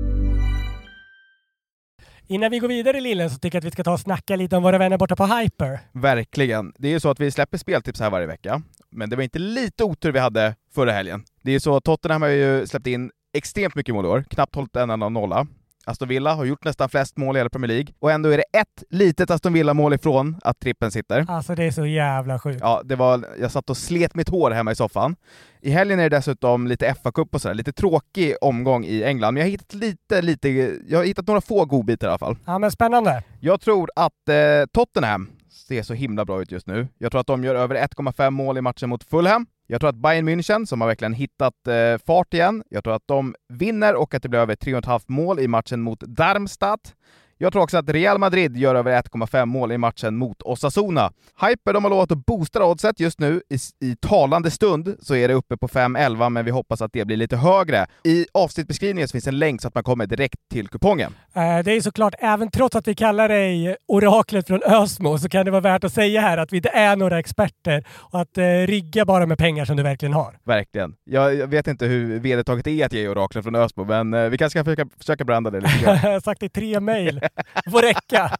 [SPEAKER 5] Innan vi går vidare Lillen så tycker jag att vi ska ta och snacka lite om våra vänner borta på Hyper.
[SPEAKER 3] Verkligen. Det är ju så att vi släpper speltips här varje vecka, men det var inte lite otur vi hade förra helgen. Det är så att Tottenham har ju släppt in extremt mycket mål i år, knappt hållit en enda nolla. Aston Villa har gjort nästan flest mål i hela Premier League och ändå är det ett litet Aston Villa-mål ifrån att trippen sitter.
[SPEAKER 5] Alltså det är så jävla sjukt.
[SPEAKER 3] Ja, det var, jag satt och slet mitt hår hemma i soffan. I helgen är det dessutom lite FA-cup och sådär, lite tråkig omgång i England, men jag har hittat lite, lite, jag har hittat några få godbitar i alla fall.
[SPEAKER 5] Ja men spännande.
[SPEAKER 3] Jag tror att eh, Tottenham ser så himla bra ut just nu. Jag tror att de gör över 1,5 mål i matchen mot Fulham. Jag tror att Bayern München, som har verkligen hittat eh, fart igen, jag tror att de vinner och att det blir över 3,5 mål i matchen mot Darmstadt. Jag tror också att Real Madrid gör över 1,5 mål i matchen mot Osasuna. Hyper, de har lovat att boosta oddset just nu. I, I talande stund så är det uppe på 5,11, men vi hoppas att det blir lite högre. I avsnittbeskrivningen så finns en länk så att man kommer direkt till kupongen.
[SPEAKER 5] Eh, Det är ju såklart, även trots att vi kallar dig oraklet från Ösmo, så kan det vara värt att säga här att vi inte är några experter och att eh, rygga bara med pengar som du verkligen har.
[SPEAKER 3] Verkligen. Jag, jag vet inte hur vedertaget är att ge oraklet från Ösbo, men eh, vi kanske ska försöka, försöka branda det lite grann.
[SPEAKER 5] Jag har sagt det i tre mejl. Det får räcka.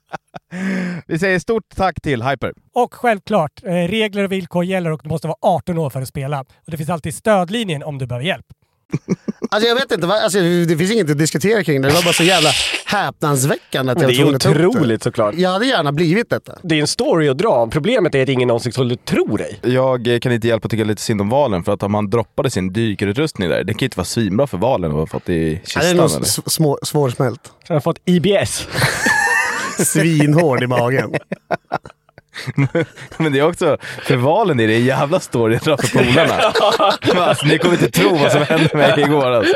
[SPEAKER 3] Vi säger stort tack till Hyper.
[SPEAKER 5] Och självklart, eh, regler och villkor gäller och du måste vara 18 år för att spela. Och det finns alltid stödlinjen om du behöver hjälp.
[SPEAKER 2] Alltså jag vet inte, vad- alltså, det finns inget att diskutera kring det. Det var bara så jävla häpnadsväckande att
[SPEAKER 1] Det
[SPEAKER 2] jag
[SPEAKER 1] är
[SPEAKER 2] var tvungen att ta upp
[SPEAKER 1] otroligt såklart.
[SPEAKER 2] Jag hade gärna blivit detta.
[SPEAKER 1] Det är en story att dra. Problemet är att ingen någonsin skulle tro dig.
[SPEAKER 3] Jag eh, kan inte hjälpa att tycka lite synd om valen för att om han droppade sin dykarutrustning där, det kan ju inte vara svinbra för valen att ha fått i
[SPEAKER 2] Ja,
[SPEAKER 3] kistan.
[SPEAKER 2] Det är nog
[SPEAKER 3] eller?
[SPEAKER 2] s- små, svårsmält.
[SPEAKER 1] Sen har jag fått IBS.
[SPEAKER 2] Svinhård i magen.
[SPEAKER 3] Men det är också, för valen är det en jävla story framför polarna. Men alltså, ni kommer inte tro vad som hände mig igår alltså.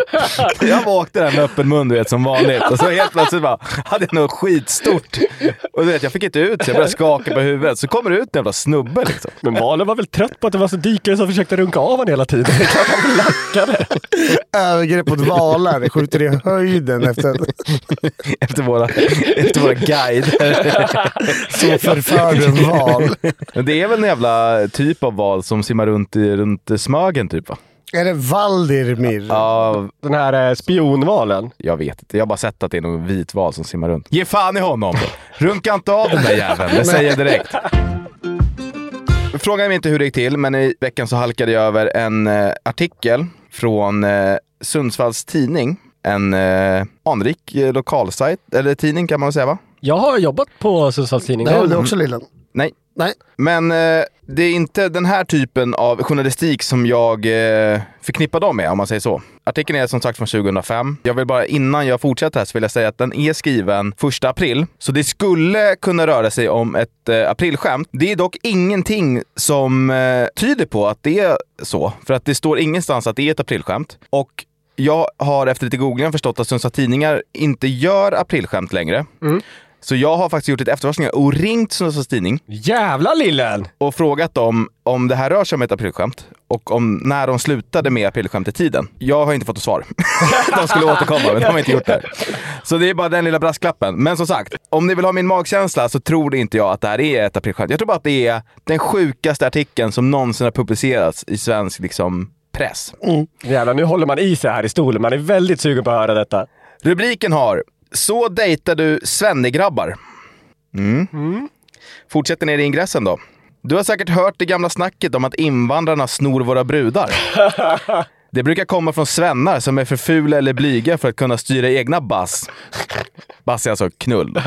[SPEAKER 3] Jag åkte där med öppen mun du vet, som vanligt och så helt plötsligt bara, hade jag något skitstort. Och du vet, jag fick inte ut så jag började skaka på huvudet. Så kommer det ut en jävla snubbe liksom.
[SPEAKER 1] Men Valen var väl trött på att det var så dykare som försökte runka av honom hela tiden. Det kanske han lackade.
[SPEAKER 2] Övergrepp mot valar, skjuter i höjden efter
[SPEAKER 3] Efter våra, efter våra guider.
[SPEAKER 2] så förförd en val.
[SPEAKER 3] Men det är väl en jävla typ av val som simmar runt, i, runt Smögen typ va?
[SPEAKER 2] Är det Valdirmir?
[SPEAKER 3] Ja,
[SPEAKER 1] Den här eh, spionvalen.
[SPEAKER 3] jag vet inte. Jag har bara sett att det är någon vit val som simmar runt. Ge fan i honom! Runka inte av den där jäveln, det säger jag direkt. Fråga mig inte hur det gick till, men i veckan så halkade jag över en eh, artikel från eh, Sundsvalls tidning. En eh, anrik eh, lokalsajt, eller tidning kan man väl säga va?
[SPEAKER 1] Jag har jobbat på Sundsvalls tidning.
[SPEAKER 2] Det här är du också Lillen.
[SPEAKER 3] Nej,
[SPEAKER 2] Nej,
[SPEAKER 3] Men eh, det är inte den här typen av journalistik som jag eh, förknippar dem med, om man säger så. Artikeln är som sagt från 2005. Jag vill bara, innan jag fortsätter här, så vill jag säga att den är skriven 1 april. Så det skulle kunna röra sig om ett eh, aprilskämt. Det är dock ingenting som eh, tyder på att det är så, för att det står ingenstans att det är ett aprilskämt. Och jag har efter lite googling förstått att Sundsvalls Tidningar inte gör aprilskämt längre. Så jag har faktiskt gjort lite efterforskningar och ringt Sundsvalls Tidning
[SPEAKER 1] Jävla lillen!
[SPEAKER 3] och frågat dem om det här rör sig om ett aprilskämt och om när de slutade med aprilskämt i tiden. Jag har inte fått något svar. de skulle återkomma, men de har inte gjort det. Så det är bara den lilla brasklappen. Men som sagt, om ni vill ha min magkänsla så tror inte jag att det här är ett aprilskämt. Jag tror bara att det är den sjukaste artikeln som någonsin har publicerats i svensk liksom, press.
[SPEAKER 1] Jävlar, nu håller man i sig här i stolen. Man är väldigt sugen på att höra detta.
[SPEAKER 3] Rubriken har “Så dejtar du svennegrabbar”. Mm. Fortsätter ner i ingressen då. Du har säkert hört det gamla snacket om att invandrarna snor våra brudar. Det brukar komma från svennar som är för fula eller blyga för att kunna styra egna bass. Bass är alltså knull.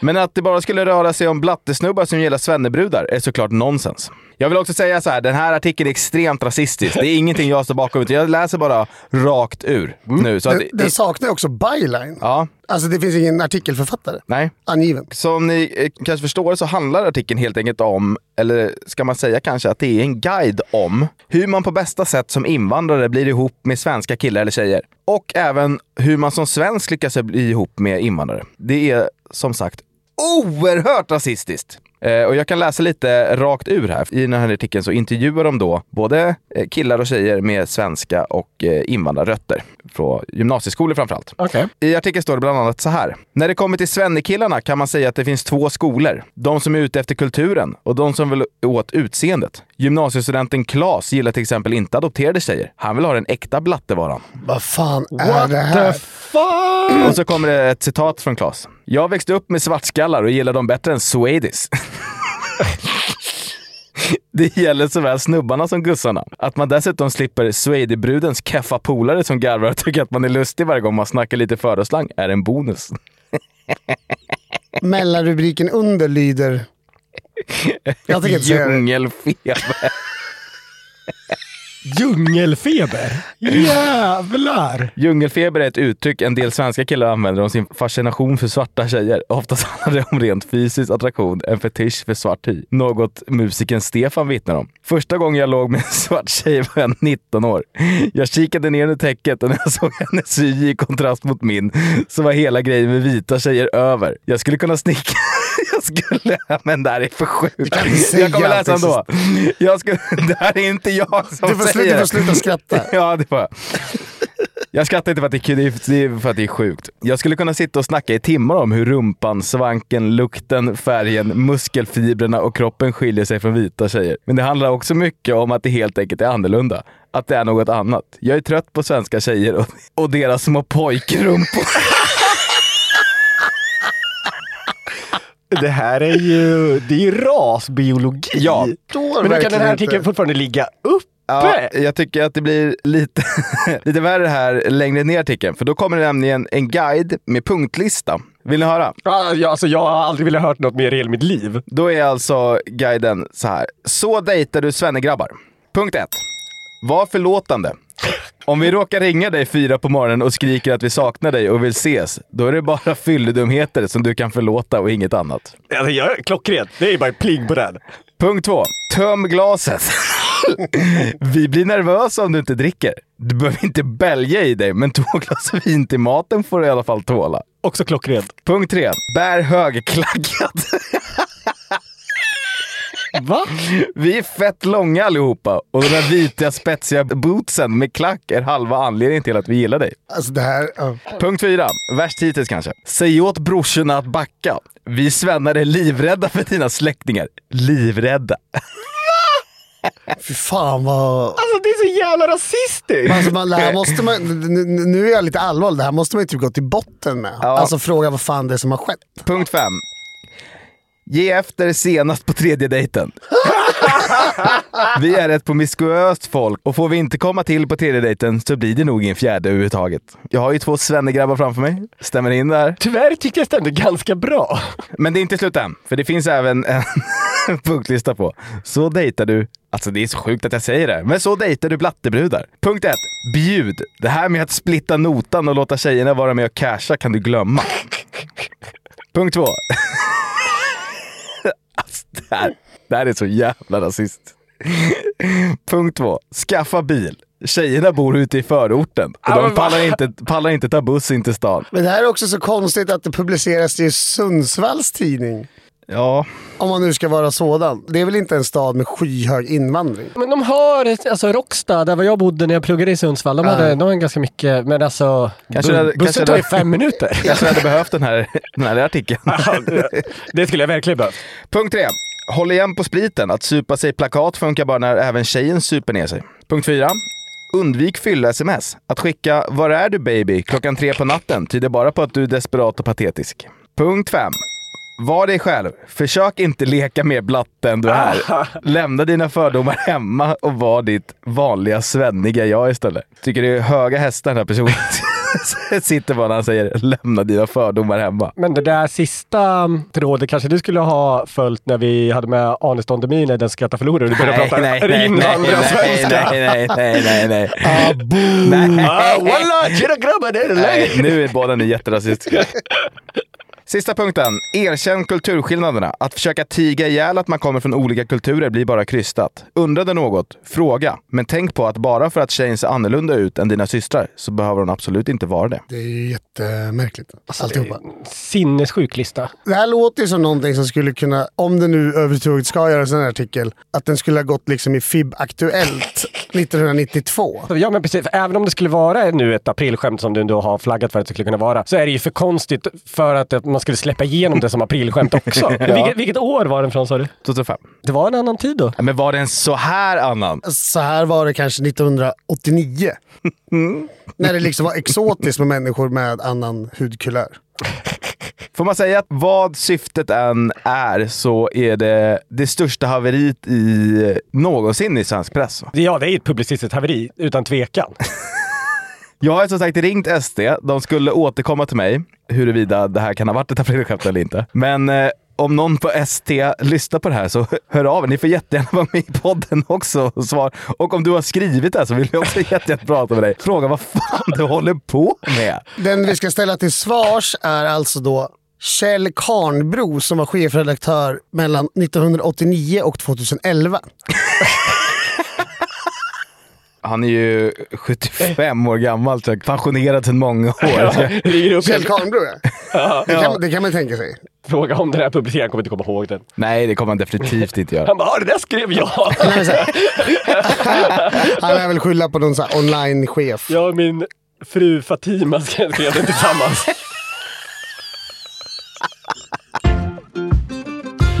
[SPEAKER 3] Men att det bara skulle röra sig om blattesnubbar som gillar svennebrudar är såklart nonsens. Jag vill också säga så här, den här artikeln är extremt rasistisk. Det är ingenting jag står bakom, utan jag läser bara rakt ur nu. Så att,
[SPEAKER 2] den, den saknar ju också byline.
[SPEAKER 3] ja,
[SPEAKER 2] Alltså det finns ingen artikelförfattare
[SPEAKER 3] nej.
[SPEAKER 2] angiven.
[SPEAKER 3] Som ni eh, kanske förstår så handlar artikeln helt enkelt om, eller ska man säga kanske att det är en guide om, hur man på bästa sätt som invandrare blir ihop med svenska killar eller tjejer. Och även hur man som svensk lyckas bli ihop med invandrare. Det är som sagt oerhört rasistiskt. Eh, och jag kan läsa lite rakt ur här. I den här artikeln så intervjuar de då både eh, killar och tjejer med svenska och eh, invandrarrötter. Från gymnasieskolor framförallt.
[SPEAKER 1] Okej.
[SPEAKER 3] I artikeln står det bland annat så här. När det kommer till svennekillarna kan man säga att det finns två skolor. De som är ute efter kulturen och de som vill åt utseendet. Gymnasiestudenten Klas gillar till exempel inte adopterade tjejer. Han vill ha den äkta blattevaran.
[SPEAKER 2] Vad fan är
[SPEAKER 1] What
[SPEAKER 2] det
[SPEAKER 1] the
[SPEAKER 2] här?
[SPEAKER 1] fuck!
[SPEAKER 3] Och så kommer det ett citat från Klas. Jag växte upp med svartskallar och gillar dem bättre än Swedis. Det gäller såväl snubbarna som gussarna. Att man dessutom slipper Swedibrudens keffa polare som garvar och tycker att man är lustig varje gång man snackar lite föreslang är en bonus.
[SPEAKER 2] Mellanrubriken under lyder... Jag tänker inte säga det.
[SPEAKER 3] Djungelfeber.
[SPEAKER 1] Djungelfeber? Jävlar!
[SPEAKER 3] Djungelfeber är ett uttryck en del svenska killar använder om sin fascination för svarta tjejer. Oftast handlar det om rent fysisk attraktion, en fetisch för svart hy. Något musikern Stefan vittnar om. Första gången jag låg med en svart tjej var jag 19 år. Jag kikade ner under täcket och när jag såg hennes hy i kontrast mot min så var hela grejen med vita tjejer över. Jag skulle kunna snickra jag skulle... Men det här är för sjukt.
[SPEAKER 2] kan inte
[SPEAKER 3] Jag kommer
[SPEAKER 2] säga
[SPEAKER 3] läsa
[SPEAKER 2] att det är
[SPEAKER 3] ändå. Jag skulle, det här är inte jag som
[SPEAKER 2] Du får, sluta,
[SPEAKER 3] säger
[SPEAKER 2] du får sluta skratta.
[SPEAKER 3] Ja, det får jag. Jag skrattar inte för att det är kul, det är för att det är sjukt. Jag skulle kunna sitta och snacka i timmar om hur rumpan, svanken, lukten, färgen, muskelfibrerna och kroppen skiljer sig från vita tjejer. Men det handlar också mycket om att det helt enkelt är annorlunda. Att det är något annat. Jag är trött på svenska tjejer och, och deras små pojkrumpor.
[SPEAKER 1] Det här är ju, det är ju rasbiologi.
[SPEAKER 3] Ja.
[SPEAKER 1] Men nu kan
[SPEAKER 2] verkligen
[SPEAKER 1] den här
[SPEAKER 2] inte.
[SPEAKER 1] artikeln fortfarande ligga uppe.
[SPEAKER 3] Ja, jag tycker att det blir lite, lite värre här längre ner i artikeln. För då kommer det nämligen en guide med punktlista. Vill ni höra?
[SPEAKER 1] Ja, jag- alltså, jag har aldrig velat hört något mer i hela mitt liv.
[SPEAKER 3] Då är alltså guiden så här. Så dejtar du svennegrabbar. Punkt 1. Var förlåtande. Om vi råkar ringa dig fyra på morgonen och skriker att vi saknar dig och vill ses, då är det bara fylledumheter som du kan förlåta och inget annat.
[SPEAKER 1] Alltså, jag, klockrent. Det är bara pling på den.
[SPEAKER 3] Punkt 2. Töm glaset. vi blir nervösa om du inte dricker. Du behöver inte bälja i dig, men två glas vin till maten får du i alla fall tåla.
[SPEAKER 1] Också klockrent.
[SPEAKER 3] Punkt 3. Bär högklackat.
[SPEAKER 1] Va?
[SPEAKER 3] Vi är fett långa allihopa och de där vita spetsiga bootsen med klack är halva anledningen till att vi gillar dig.
[SPEAKER 2] Alltså det här... ja.
[SPEAKER 3] Punkt fyra. Värst hittills kanske. Säg åt brorsorna att backa. Vi svennar är livrädda för dina släktingar. Livrädda.
[SPEAKER 2] Fy fan vad...
[SPEAKER 1] Alltså det är så jävla rasistiskt!
[SPEAKER 2] Alltså man, det här måste man, nu, nu är jag lite allvarlig, det här måste man ju typ gå till botten med. Alltså fråga vad fan det är som har skett.
[SPEAKER 3] Punkt fem. Ge efter senast på tredje dejten. vi är ett promiskuöst folk och får vi inte komma till på tredje dejten så blir det nog ingen fjärde överhuvudtaget. Jag har ju två svennegrabbar framför mig. Stämmer in där?
[SPEAKER 1] Tyvärr tycker jag det stämde ganska bra.
[SPEAKER 3] Men det är inte slut än, för det finns även en punktlista på. Så dejtar du... Alltså det är så sjukt att jag säger det, här, men så dejtar du blattebrudar. Punkt 1. Bjud. Det här med att splitta notan och låta tjejerna vara med och casha kan du glömma. Punkt 2. alltså det här, det här är så jävla rasist. Punkt 2. Skaffa bil. Tjejerna bor ute i förorten och de pallar inte, pallar inte ta buss in till stan.
[SPEAKER 2] Men det här är också så konstigt att det publiceras i Sundsvalls tidning.
[SPEAKER 3] Ja,
[SPEAKER 2] Om man nu ska vara sådan. Det är väl inte en stad med skyhög invandring?
[SPEAKER 1] Men de har, ett- alltså Rockstad, där var jag bodde när jag pluggade i Sundsvall, de, hade, de har ganska mycket, men alltså
[SPEAKER 3] Kanske
[SPEAKER 1] bu-
[SPEAKER 3] det-
[SPEAKER 1] bussen
[SPEAKER 3] kanske
[SPEAKER 1] tar ju
[SPEAKER 3] det-
[SPEAKER 1] fem minuter.
[SPEAKER 3] kanske hade behövt den här, den här artikeln.
[SPEAKER 1] det skulle jag verkligen behövt.
[SPEAKER 3] Punkt 3. Håll igen på spriten. Att supa sig i plakat funkar bara när även tjejen super ner sig. Punkt 4. Undvik fylla-sms. Att skicka “Var är du baby?” klockan tre på natten tyder bara på att du är desperat och patetisk. Punkt 5. Var dig själv. Försök inte leka mer blatte än du är. Lämna dina fördomar hemma och var ditt vanliga svenniga jag istället. Tycker det är höga hästar den här personen sitter på när han säger “Lämna dina fördomar hemma”.
[SPEAKER 1] Men det där sista rådet kanske du skulle ha följt när vi hade med Anis Don Demina i Den som skrattar förlorar och du började prata invandrarsvenska.
[SPEAKER 3] nej, nej, nej, nej.
[SPEAKER 1] Ah, Walla, tjena grabbar, det är det läge?
[SPEAKER 3] Nej, nu är båda ni jätterasistiska. Sista punkten. Erkänn kulturskillnaderna. Att försöka tiga ihjäl att man kommer från olika kulturer blir bara krystat. Undrade något? Fråga. Men tänk på att bara för att tjejen ser annorlunda ut än dina systrar så behöver hon absolut inte vara det.
[SPEAKER 2] Det är ju jättemärkligt. Alltihopa.
[SPEAKER 1] Sinnessjuk lista.
[SPEAKER 2] Det här låter ju som någonting som skulle kunna, om det nu överhuvudtaget ska göras en sån här artikel, att den skulle ha gått liksom i FIB Aktuellt 1992.
[SPEAKER 1] Ja men precis, För även om det skulle vara nu ett aprilskämt som du ändå har flaggat för att det skulle kunna vara, så är det ju för konstigt för att man skulle släppa igenom det som aprilskämt också. vilket, vilket år var den från sa du?
[SPEAKER 3] 2005.
[SPEAKER 1] Det var en annan tid då.
[SPEAKER 3] Men var den så här annan?
[SPEAKER 2] Så här var det kanske 1989. När det liksom var exotiskt med människor med annan hudkulör.
[SPEAKER 3] Får man säga att vad syftet än är så är det det största haveriet i, någonsin i svensk press. va?
[SPEAKER 1] Ja, det är ett publicistiskt haveri, utan tvekan.
[SPEAKER 3] Jag har som sagt ringt SD. De skulle återkomma till mig huruvida det här kan ha varit ett aprilskämt eller inte. Men eh, om någon på ST lyssnar på det här så hör av er. Ni får jättegärna vara med i podden också och svara. Och om du har skrivit det här så vill jag också jättegärna prata med dig. Fråga vad fan du håller på med.
[SPEAKER 2] Den vi ska ställa till svars är alltså då Kjell Karnbro som var chefredaktör mellan 1989 och 2011.
[SPEAKER 3] Han är ju 75 år gammal, så pensionerad sedan många år. Så jag-
[SPEAKER 1] Ringer upp
[SPEAKER 2] Kjell
[SPEAKER 1] en
[SPEAKER 2] Karnbro ja. Det kan, det kan man tänka sig.
[SPEAKER 1] fråga om den här publiceringen, kommer inte komma ihåg den.
[SPEAKER 3] Nej, det kommer han definitivt inte göra.
[SPEAKER 1] Han bara, "Ah, det där skrev jag!
[SPEAKER 2] Nej, men så här- Han är väl skylla på någon så här online-chef.
[SPEAKER 1] Jag och min fru Fatima skrev den tillsammans.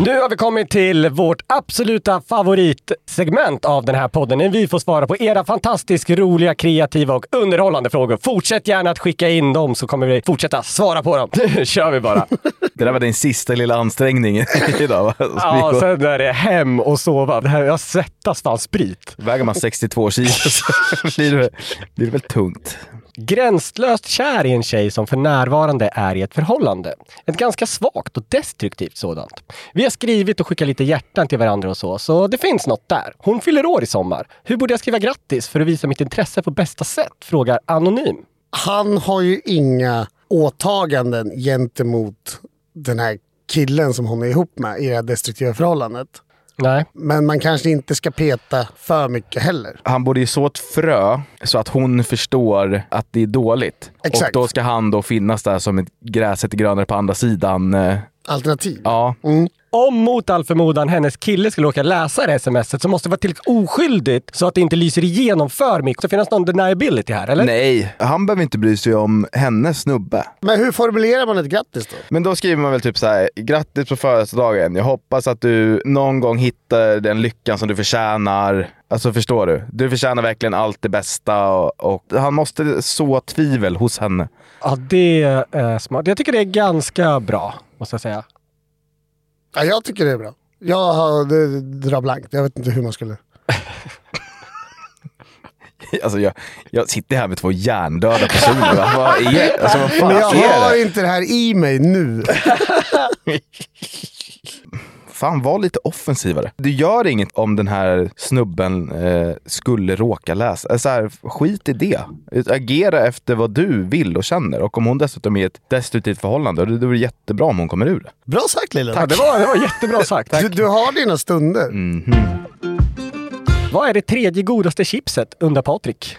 [SPEAKER 1] Nu har vi kommit till vårt absoluta favoritsegment av den här podden. När vi får svara på era fantastiskt roliga, kreativa och underhållande frågor. Fortsätt gärna att skicka in dem så kommer vi fortsätta svara på dem. Nu kör vi bara.
[SPEAKER 3] Det där var din sista lilla ansträngning idag va? Så vi
[SPEAKER 1] Ja,
[SPEAKER 3] går-
[SPEAKER 1] sen är det hem och sova. Det här, jag svettas fan sprit.
[SPEAKER 3] Väger man 62 kilo så blir det, blir det väl tungt.
[SPEAKER 1] Gränslöst kär i en tjej som för närvarande är i ett förhållande. Ett ganska svagt och destruktivt sådant. Vi har skrivit och skickat lite hjärtan till varandra och så, så det finns något där. Hon fyller år i sommar. Hur borde jag skriva grattis för att visa mitt intresse på bästa sätt? Frågar Anonym.
[SPEAKER 2] Han har ju inga åtaganden gentemot den här killen som hon är ihop med i det här destruktiva förhållandet.
[SPEAKER 1] Nej.
[SPEAKER 2] Men man kanske inte ska peta för mycket heller.
[SPEAKER 3] Han borde ju så ett frö så att hon förstår att det är dåligt.
[SPEAKER 2] Exakt.
[SPEAKER 3] Och då ska han då finnas där som ett gräset är grönare på andra sidan. eh,
[SPEAKER 2] Alternativ.
[SPEAKER 3] Ja,
[SPEAKER 1] Om mot all förmodan hennes kille skulle råka läsa det smset så måste det vara tillräckligt oskyldigt så att det inte lyser igenom för mycket. Så finns någon deniability här, eller?
[SPEAKER 3] nej. Han behöver inte bry sig om hennes snubbe.
[SPEAKER 2] Men hur formulerar man ett grattis då?
[SPEAKER 3] Men då skriver man väl typ så här: grattis på födelsedagen. Jag hoppas att du någon gång hittar den lyckan som du förtjänar. Alltså förstår du? Du förtjänar verkligen allt det bästa och, och han måste så tvivel hos henne.
[SPEAKER 1] Ja, det är eh, smart. Jag tycker det är ganska bra, måste jag säga.
[SPEAKER 2] Ja, jag tycker det är bra. Jag har, det drar blankt. Jag vet inte hur man skulle...
[SPEAKER 3] Alltså jag, jag sitter här med två hjärndöda personer. va? Vad är, alltså vad fan
[SPEAKER 2] Men jag
[SPEAKER 3] är
[SPEAKER 2] har
[SPEAKER 3] det?
[SPEAKER 2] inte det här i mig nu.
[SPEAKER 3] Fan, var lite offensivare. Du gör inget om den här snubben eh, skulle råka läsa. Alltså här, skit i det. Agera efter vad du vill och känner. Och om hon dessutom är i ett destruktivt förhållande, då då är det jättebra om hon kommer ur det.
[SPEAKER 2] Bra sagt Lillen.
[SPEAKER 1] Ja, det, var, det var jättebra sagt.
[SPEAKER 2] Du, du har dina stunder.
[SPEAKER 1] Vad är det tredje godaste chipset? undrar Patrik.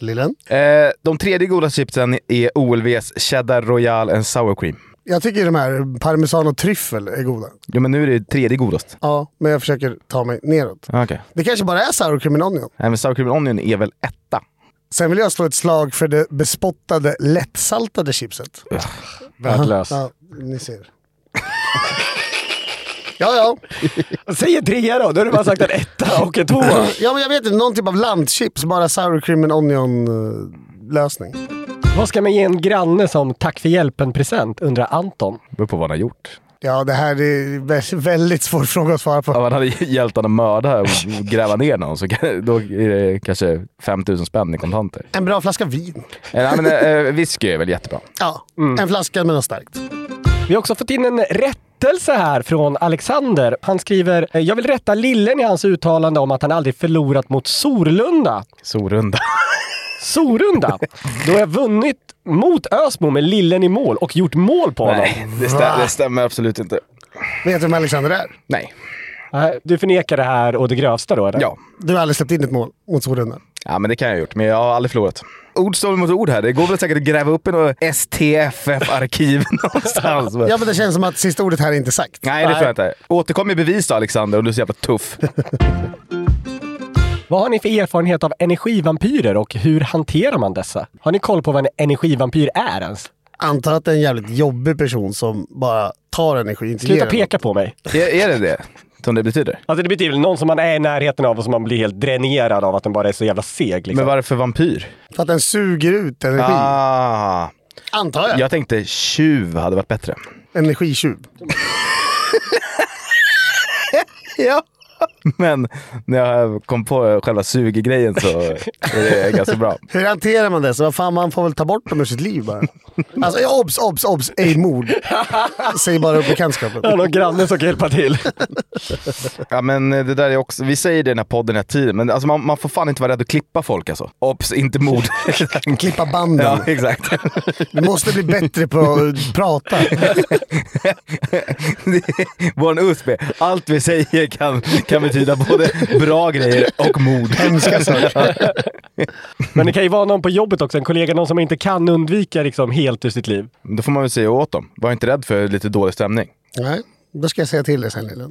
[SPEAKER 2] Lillen.
[SPEAKER 3] Eh, de tredje goda chipsen är OLVs Cheddar Royal and Sour Cream.
[SPEAKER 2] Jag tycker de här parmesan och tryffel är goda.
[SPEAKER 3] Jo, men nu är det tredje godast.
[SPEAKER 2] Ja, men jag försöker ta mig neråt.
[SPEAKER 3] Ah, Okej.
[SPEAKER 2] Det kanske bara är sour cream and onion.
[SPEAKER 3] Nej, Eh, men Sour Cream and Onion är väl etta?
[SPEAKER 2] Sen vill jag slå ett slag för det bespottade lättsaltade chipset.
[SPEAKER 1] Värdelös.
[SPEAKER 2] Ja, ni ser. Ja, ja.
[SPEAKER 1] Säg en trea då, då har du bara sagt en etta och en tvåa.
[SPEAKER 2] ja men jag vet inte, någon typ av landchips, bara sour cream and onion eh, lösning.
[SPEAKER 1] Vad ska man ge en granne som tack för hjälpen-present? undrar Anton.
[SPEAKER 3] Beror på vad han har gjort.
[SPEAKER 2] Ja, det här är vä- väldigt svår fråga att svara
[SPEAKER 3] Om
[SPEAKER 2] på.
[SPEAKER 3] han hade hjälpt honom att mörda och gräva ner någon så kan- då är det kanske 5000 spänn i kontanter.
[SPEAKER 2] En bra flaska vin. Mm.
[SPEAKER 3] Eh, Nej, men, eh, whisky är väl jättebra.
[SPEAKER 2] Ja, en flaska med något starkt.
[SPEAKER 1] Vi har också fått in en rättelse här från Alexander. Han skriver eh, “Jag vill rätta lillen i hans uttalande om att han aldrig förlorat mot Sorlunda.
[SPEAKER 3] Sorunda.
[SPEAKER 1] Sorunda? Då har jag vunnit mot Ösmo med lillen i mål och gjort mål på honom.
[SPEAKER 3] Nej, det, stä- det stämmer absolut inte.
[SPEAKER 2] Vet du vem Alexander är?
[SPEAKER 3] Nej.
[SPEAKER 1] Nej, Eh, Du förnekar det här och det grövsta då eller?
[SPEAKER 3] Ja.
[SPEAKER 2] Du har aldrig släppt in ett mål mot Sorunda.
[SPEAKER 3] ja, men det kan jag ha gjort. Men jag har aldrig förlorat. Ord står mot ord här. Det går väl säkert att gräva upp i något STFF-arkiv någonstans. men-
[SPEAKER 2] Ja, men det känns som att sista ordet här är inte sagt.
[SPEAKER 3] Nej, det tror jag inte. Återkom med bevis då, Alexander, om du är så jävla tuff.
[SPEAKER 1] Vad har ni för erfarenhet av energivampyrer och hur hanterar man dessa? Har ni koll på vad en energivampyr är ens?
[SPEAKER 2] Antar att det är en jävligt jobbig person som bara tar energi. Inte
[SPEAKER 1] Sluta
[SPEAKER 2] ger den.
[SPEAKER 1] peka på mig.
[SPEAKER 3] är, är det det som det betyder?
[SPEAKER 1] Alltså det betyder väl någon som man är i närheten av och som man blir helt dränerad av att den bara är så jävla seg. Liksom.
[SPEAKER 3] Men varför vampyr?
[SPEAKER 2] För att den suger ut energi.
[SPEAKER 3] Ah.
[SPEAKER 2] Antar jag.
[SPEAKER 3] Jag tänkte tjuv hade varit bättre.
[SPEAKER 2] Energitjuv. ja.
[SPEAKER 3] Men när jag kom på själva suggrejen så är det ganska bra.
[SPEAKER 2] Hur hanterar man det? Så vad fan, man får väl ta bort dem ur sitt liv bara. Alltså ja, obs, obs, obs, ej mord. Säg bara upp bekantskapen.
[SPEAKER 1] Jag har någon granne som kan hjälpa till.
[SPEAKER 3] Ja, men eh, det där är också, vi säger det i den här podden hela tiden, men alltså, man, man får fan inte vara rädd att klippa folk alltså. Obs, inte mord.
[SPEAKER 2] Klippa banden.
[SPEAKER 3] ja, exakt.
[SPEAKER 2] Du måste bli bättre på att prata.
[SPEAKER 3] Det är Vår USB. Allt vi säger kan, kan betyda både bra grejer och mord.
[SPEAKER 2] Hemska saker.
[SPEAKER 1] Men det kan ju vara någon på jobbet också, en kollega, någon som man inte kan undvika liksom helt ur sitt liv.
[SPEAKER 3] Då får man väl säga åt dem. Var inte rädd för lite dålig stämning.
[SPEAKER 2] Nej, då ska jag säga till dig sen Lillen.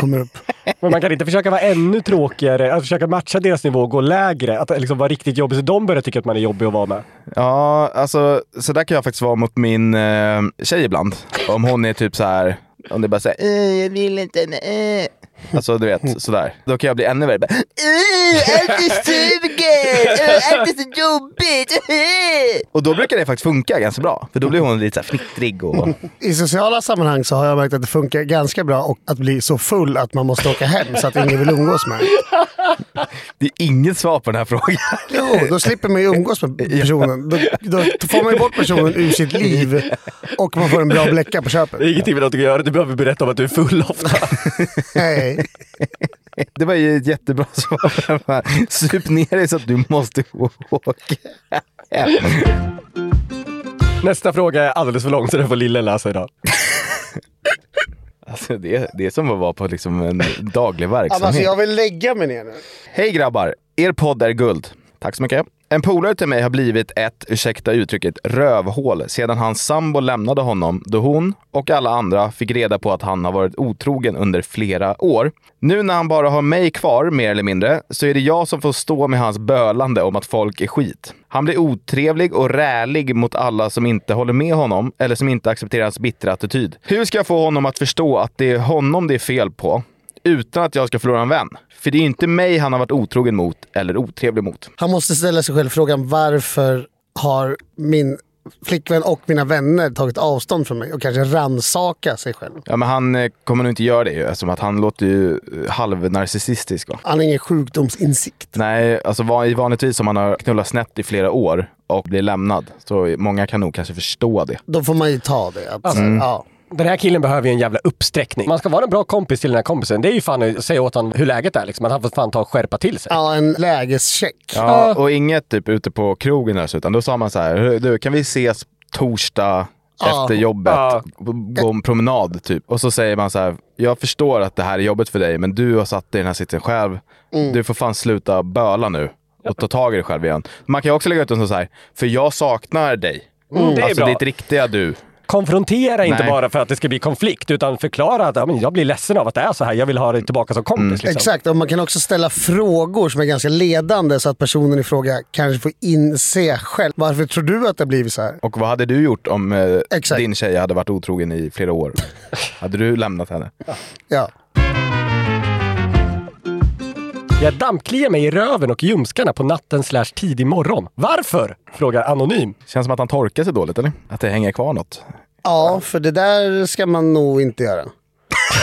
[SPEAKER 2] Kommer upp.
[SPEAKER 1] Men man kan inte försöka vara ännu tråkigare, att försöka matcha deras nivå och gå lägre. Att liksom vara riktigt jobbig så de börjar tycka att man är jobbig att vara med.
[SPEAKER 3] Ja, alltså så där kan jag faktiskt vara mot min eh, tjej ibland. Om hon är typ så här, om det bara säger eh, jag vill inte, nej. Alltså du vet, sådär. Då kan jag bli ännu värre. Bara, "Eh, Allt är suger! Eh, Allt är så jobbigt! eh." Och då brukar det faktiskt funka ganska bra. För då blir hon lite så här fnittrig och...
[SPEAKER 2] I sociala sammanhang så har jag märkt att det funkar ganska bra och att bli så full att man måste åka hem så att ingen vill umgås med en.
[SPEAKER 3] Det är inget svar på den här frågan.
[SPEAKER 2] Jo, då slipper man ju umgås med personen. Då, då får man ju bort personen ur sitt liv och man får en bra bläcka på köpet.
[SPEAKER 1] Det är ingenting med något att göra, du behöver berätta om att du är full ofta.
[SPEAKER 2] Nej.
[SPEAKER 3] Det var ju ett jättebra svar. på den här. Sup ner dig så att du måste gå och åka hem.
[SPEAKER 1] Nästa fråga är alldeles för lång så den får Lille läsa idag.
[SPEAKER 3] Alltså det, det är som att vara på liksom en daglig verksamhet.
[SPEAKER 2] Alltså, jag vill lägga mig ner nu.
[SPEAKER 3] Hej grabbar! Er podd är guld. Tack så mycket. En polare till mig har blivit ett, ursäkta uttrycket, rövhål sedan hans sambo lämnade honom då hon och alla andra fick reda på att han har varit otrogen under flera år. Nu när han bara har mig kvar, mer eller mindre, så är det jag som får stå med hans bölande om att folk är skit. Han blir otrevlig och rälig mot alla som inte håller med honom eller som inte accepterar hans bittra attityd. Hur ska jag få honom att förstå att det är honom det är fel på? utan att jag ska förlora en vän. För det är ju inte mig han har varit otrogen mot eller otrevlig mot.
[SPEAKER 2] Han måste ställa sig själv frågan varför har min flickvän och mina vänner tagit avstånd från mig och kanske ransaka sig själv.
[SPEAKER 3] Ja, men han eh, kommer nog inte göra det ju, eftersom att han låter ju eh, halvnarcissistisk. Va?
[SPEAKER 2] Han har ingen sjukdomsinsikt.
[SPEAKER 3] Nej, alltså van- vanligtvis om man har knullat snett i flera år och blir lämnad, så många kan nog kanske förstå det.
[SPEAKER 2] Då får man ju ta det. Att, ja.
[SPEAKER 1] Den här killen behöver ju en jävla uppsträckning. Man ska vara en bra kompis till den här kompisen. Det är ju fan att säga åt honom hur läget är liksom. Att han får fan ta och skärpa till sig.
[SPEAKER 2] ja, en lägescheck.
[SPEAKER 3] Ja, och inget typ ute på krogen alltså, utan då sa man så här, du kan vi ses torsdag
[SPEAKER 2] Ja.
[SPEAKER 3] efter jobbet,
[SPEAKER 1] Ja.
[SPEAKER 3] gå en promenad typ. Och så säger man så här, jag förstår att det här är jobbigt för dig, men du har satt dig i den här sitsen själv.
[SPEAKER 1] Mm.
[SPEAKER 3] Du får fan sluta böla nu och ta tag i dig själv igen. Man kan ju också lägga ut en sån så här, för jag saknar dig.
[SPEAKER 1] Mm, det är
[SPEAKER 3] alltså
[SPEAKER 1] bra.
[SPEAKER 3] ditt riktiga du.
[SPEAKER 1] Konfrontera inte
[SPEAKER 3] Nej.
[SPEAKER 1] bara för att det ska bli konflikt, utan förklara att ja, men jag blir ledsen av att det är så här. Jag vill ha dig tillbaka som kompis. Liksom.
[SPEAKER 2] Exakt, och man kan också ställa frågor som är ganska ledande så att personen i fråga kanske får inse själv. Varför tror du att det har blivit så här?
[SPEAKER 3] Och vad hade du gjort om eh,
[SPEAKER 2] Exakt.
[SPEAKER 3] din tjej hade varit otrogen i flera år? hade du lämnat henne?
[SPEAKER 2] Ja.
[SPEAKER 1] Jag dammkliar mig i röven och ljumskarna på natten slash tidig morgon. Varför? Frågar Anonym.
[SPEAKER 3] Känns som att han torkar sig dåligt eller? Att det hänger kvar något?
[SPEAKER 2] ja, för det där ska man nog inte göra.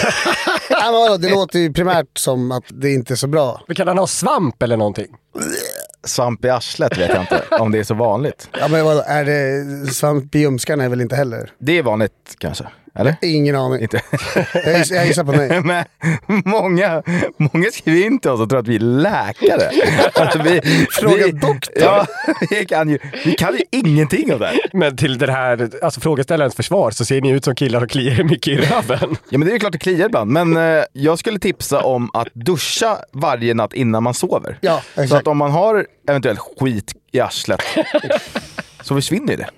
[SPEAKER 2] Ja, men vadå, det låter ju primärt som att det inte är så bra.
[SPEAKER 1] Men Kan han ha svamp eller någonting?
[SPEAKER 3] Svamp i arslet vet jag inte om det är så vanligt.
[SPEAKER 2] Ja, men vadå, är det svamp i ljumskarna är väl inte heller?
[SPEAKER 3] Det är vanligt kanske, eller?
[SPEAKER 2] Ingen aning.
[SPEAKER 3] Inte.
[SPEAKER 2] Jag gissar, jag gissar på nej.
[SPEAKER 3] Men många, många skriver in till oss och tror att vi är läkare. Alltså vi,
[SPEAKER 2] Fråga
[SPEAKER 3] vi,
[SPEAKER 2] doktor.
[SPEAKER 3] Ja, vi, kan ju, vi kan ju ingenting om det här.
[SPEAKER 1] Men till den här alltså, frågeställarens försvar så ser ni ut som killar som kliar er mycket i röven.
[SPEAKER 3] Ja, men det är ju klart det kliar ibland, men eh, jag skulle tipsa om att duscha varje natt innan man sover.
[SPEAKER 2] Ja,
[SPEAKER 3] Så
[SPEAKER 2] exakt.
[SPEAKER 3] att om man har eventuellt skit i arslet så försvinner ju det.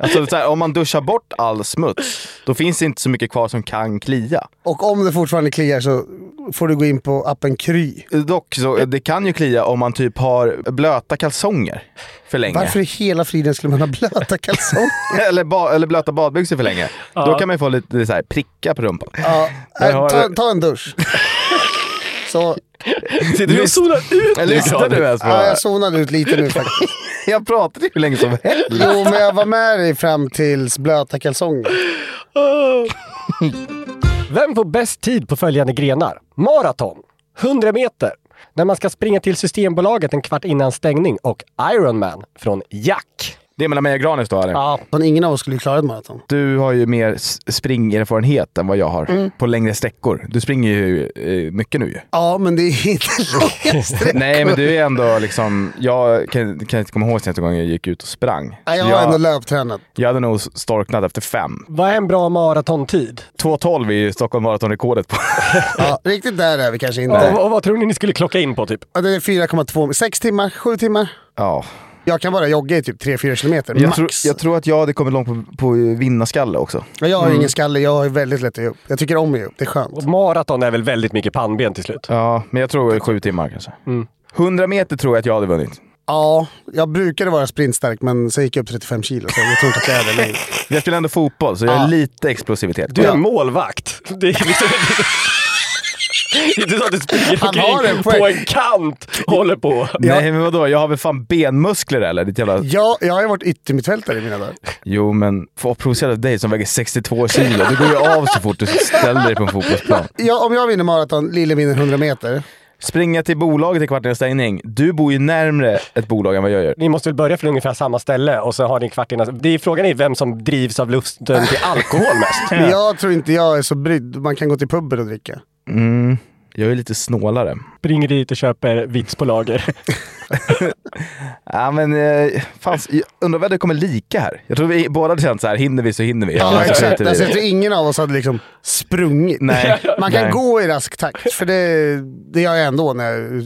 [SPEAKER 3] Alltså, så här, om man duschar bort all smuts, då finns det inte så mycket kvar som kan klia.
[SPEAKER 2] Och om det fortfarande kliar så får du gå in på appen Kry.
[SPEAKER 3] Dock, så, det kan ju klia om man typ har blöta kalsonger för länge.
[SPEAKER 2] Varför i hela friden skulle man ha blöta kalsonger?
[SPEAKER 3] eller, ba- eller blöta badbyxor för länge. Då kan man ju få lite så här, pricka på rumpan.
[SPEAKER 2] ja,
[SPEAKER 3] Jag har-
[SPEAKER 2] äh, ta, ta en dusch. Så,
[SPEAKER 3] Sitter du och
[SPEAKER 1] solar ut
[SPEAKER 3] Lyssnar du ens på
[SPEAKER 2] ja, jag zonade ut lite nu faktiskt.
[SPEAKER 3] Jag pratade ju hur länge som helst.
[SPEAKER 2] Jo, men jag var med dig fram tills blöta kalsonger.
[SPEAKER 1] Vem får bäst tid på följande grenar? Maraton, 100 meter, när man ska springa till Systembolaget en kvart innan stängning och Ironman från Jack.
[SPEAKER 3] Det är mellan mig och Granis då, eller?
[SPEAKER 1] Ja,
[SPEAKER 2] Men ingen av oss skulle ju klara ett maraton.
[SPEAKER 3] Du har ju mer s- springerfarenhet än vad jag har på längre sträckor. Du springer ju eh, mycket nu ju.
[SPEAKER 2] Ja, men det är inte långa sträckor.
[SPEAKER 3] Nej, men du är ändå liksom... Jag kan, kan inte komma ihåg senaste gången jag gick ut och sprang.
[SPEAKER 2] Nej, jag har ändå
[SPEAKER 3] jag,
[SPEAKER 2] löptränat.
[SPEAKER 3] jag hade nog storknat efter fem.
[SPEAKER 1] vad är en bra maratontid?
[SPEAKER 3] 2.12 är ju Stockholm Marathon-rekordet på.
[SPEAKER 2] Ja, riktigt där är vi kanske inte.
[SPEAKER 1] Och, och vad tror ni ni skulle klocka in på typ?
[SPEAKER 2] Ja, Det är 4,2, 6 timmar, 7 timmar.
[SPEAKER 3] ja.
[SPEAKER 2] Jag kan bara jogga i typ 3-4 kilometer,
[SPEAKER 3] Jag,
[SPEAKER 2] max.
[SPEAKER 3] tror, jag tror att jag hade kommit långt på, på vinnarskalle också.
[SPEAKER 2] Ja, Jag har ju
[SPEAKER 3] Mm.
[SPEAKER 2] ingen skalle, jag har ju väldigt lätt att ge upp. Jag tycker om att ge upp, det är skönt.
[SPEAKER 1] Och maraton är väl väldigt mycket pannben till slut?
[SPEAKER 3] Ja, men jag tror sju timmar kanske. 100 meter tror jag att jag hade vunnit.
[SPEAKER 2] Ja, jag brukade vara sprintstark men sen gick jag upp 35 kilo så jag tror inte att jag är det längre.
[SPEAKER 3] Jag spelar ändå fotboll, så jag har lite explosivitet.
[SPEAKER 1] Du är
[SPEAKER 3] Ja.
[SPEAKER 1] målvakt. Det är liksom... Det är inte så att du springer
[SPEAKER 2] Han har
[SPEAKER 1] omkring
[SPEAKER 2] en poäng.
[SPEAKER 1] på en kant och håller på.
[SPEAKER 3] Nej, men vadå? Jag har väl fan benmuskler eller? Ditt jävla...
[SPEAKER 2] Ja, jag har ju varit yttermittfältare i mina dagar.
[SPEAKER 3] Jo, men få provocerad av dig som väger 62 kilo. Du går ju av så fort du ställer dig på en fotbollsplan.
[SPEAKER 2] Ja, om jag vinner maraton, Lille vinner 100 meter.
[SPEAKER 3] Springa till bolaget i kvart innan stängning. Du bor ju närmre ett bolag än vad jag gör.
[SPEAKER 1] Ni måste väl börja från ungefär samma ställe och så har ni en kvart innan. Det är frågan är vem som drivs av lusten till alkohol mest.
[SPEAKER 2] Men jag tror inte jag är så brydd. Man kan gå till puben och dricka.
[SPEAKER 3] Mm. Jag är lite snålare.
[SPEAKER 1] Springer dit och köper vits på lager.
[SPEAKER 3] Ja, men eh, fan, jag undrar vad det kommer lika här. Jag tror vi båda hade känt så här, hinner vi så hinner vi.
[SPEAKER 2] Ja,
[SPEAKER 3] Annars så
[SPEAKER 2] exakt.
[SPEAKER 3] skiter vi i
[SPEAKER 2] Alltså, jag
[SPEAKER 3] det.
[SPEAKER 2] tror ingen av oss hade liksom sprungit.
[SPEAKER 3] Nej.
[SPEAKER 2] Man kan
[SPEAKER 3] Nej.
[SPEAKER 2] gå i rask takt, för det, det gör jag ändå när jag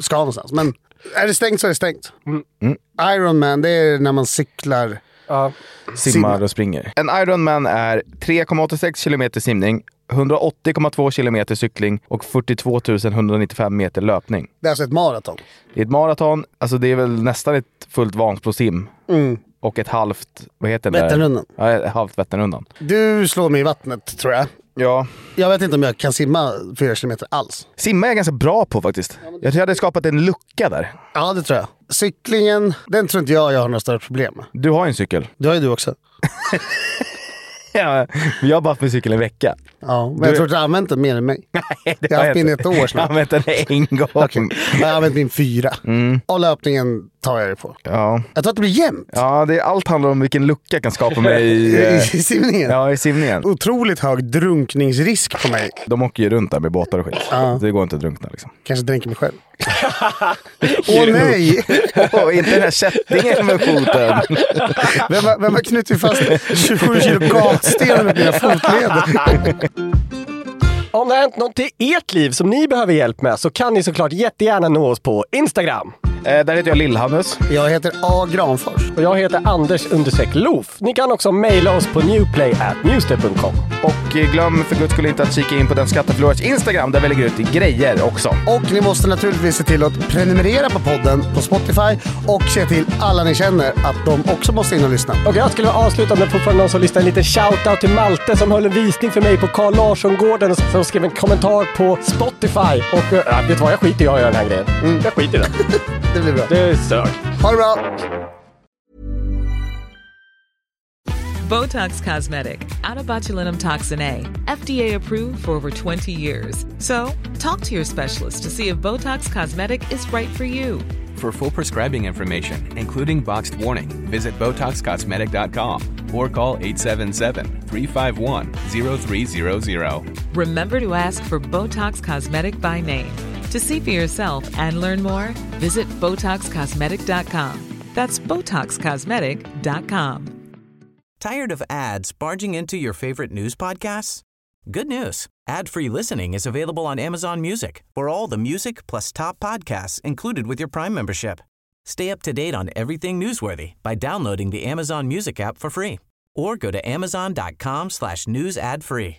[SPEAKER 2] ska någonstans. Men är det stängt så är det stängt. Mm. Ironman, det är när man cyklar.
[SPEAKER 1] Ja.
[SPEAKER 3] simmar och springer. En Ironman är 3,86 kilometer simning, 180,2 kilometer cykling och 42 195 meter löpning.
[SPEAKER 2] Det är alltså ett maraton.
[SPEAKER 3] Det är ett maraton, alltså det är väl nästan ett fullt Vansbrosim
[SPEAKER 2] Mm.
[SPEAKER 3] och ett halvt, vad heter det? där?
[SPEAKER 2] Vätternrundan.
[SPEAKER 3] Ja, ett halvt Vätternrundan.
[SPEAKER 2] Du slår mig i vattnet, tror jag.
[SPEAKER 3] Ja.
[SPEAKER 2] Jag vet inte om jag kan simma fyra kilometer alls.
[SPEAKER 3] Simma är jag ganska bra på faktiskt. Jag tror jag hade skapat en lucka där.
[SPEAKER 2] Ja, det tror jag. Cyklingen, den tror inte jag jag har några större problem med.
[SPEAKER 3] Du har ju en cykel.
[SPEAKER 2] Det har ju du också.
[SPEAKER 3] Ja, men jag har bara haft min cykel en vecka.
[SPEAKER 2] Ja, men jag tror att du har använt den mer än mig. jag har haft min ett år
[SPEAKER 3] Jag har
[SPEAKER 2] snart.
[SPEAKER 3] använt den en gång.
[SPEAKER 2] Okej. Jag har använt min fyra. Och löpningen tar jag det på.
[SPEAKER 3] Ja,
[SPEAKER 2] Jag tror att det blir jämnt
[SPEAKER 3] ja det, allt handlar om vilken lucka jag kan skapa mig i,
[SPEAKER 2] i,
[SPEAKER 3] eh,
[SPEAKER 2] i simningen.
[SPEAKER 3] ja, i simningen.
[SPEAKER 2] Otroligt hög drunkningsrisk på mig.
[SPEAKER 3] De åker ju runt där med båtar och skit.
[SPEAKER 2] Ja.
[SPEAKER 3] Det går inte att drunkna liksom.
[SPEAKER 2] Kanske dränker mig själv. Åh nej!
[SPEAKER 3] Åh, inte den här kättingen med foten!
[SPEAKER 2] Vem, har- vem har knutit fast 27 kilo gatstenar med mina fotleder?
[SPEAKER 1] Om det har hänt något i ert liv som ni behöver hjälp med så kan ni såklart jättegärna nå oss på Instagram.
[SPEAKER 3] Eh, där heter jag Lill-Hannes.
[SPEAKER 2] Jag heter A. Granfors.
[SPEAKER 1] Och jag heter Anders understreck Loof. Ni kan också mejla oss på newplay.newster.com.
[SPEAKER 3] Och eh, glöm för guds skull inte att kika in på den skatteförlorarens Instagram där vi lägger ut grejer också.
[SPEAKER 2] Och ni måste naturligtvis se till att prenumerera på podden på Spotify och se till alla ni känner att de också måste in och lyssna.
[SPEAKER 1] Och jag skulle avsluta med fortfarande någon som lyssnar en liten shout-out till Malte som höll en visning för mig på Carl Larsson-gården och som skrev en kommentar på Spotify. Och äh, vet du vad, jag skiter i att göra den här grejen. Mm, Jag skiter i den.
[SPEAKER 2] Det blir bra.
[SPEAKER 1] Det sög.
[SPEAKER 2] Ha det bra!
[SPEAKER 6] Botox Cosmetic, out of botulinum toxin A, FDA approved for over 20 years. So, talk to your specialist to see if Botox Cosmetic is right for you.
[SPEAKER 7] For full prescribing information, including boxed warning, visit BotoxCosmetic.com or call 877-351-0300.
[SPEAKER 6] Remember to ask for Botox Cosmetic by name. To see for yourself and learn more, visit BotoxCosmetic.com. That's BotoxCosmetic.com.
[SPEAKER 4] Tired of ads barging into your favorite news podcasts? Good news. Ad-free listening is available on Amazon Music for all the music plus top podcasts included with your Prime membership. Stay up to date on everything newsworthy by downloading the Amazon Music app for free or go to amazon.com slash news ad free.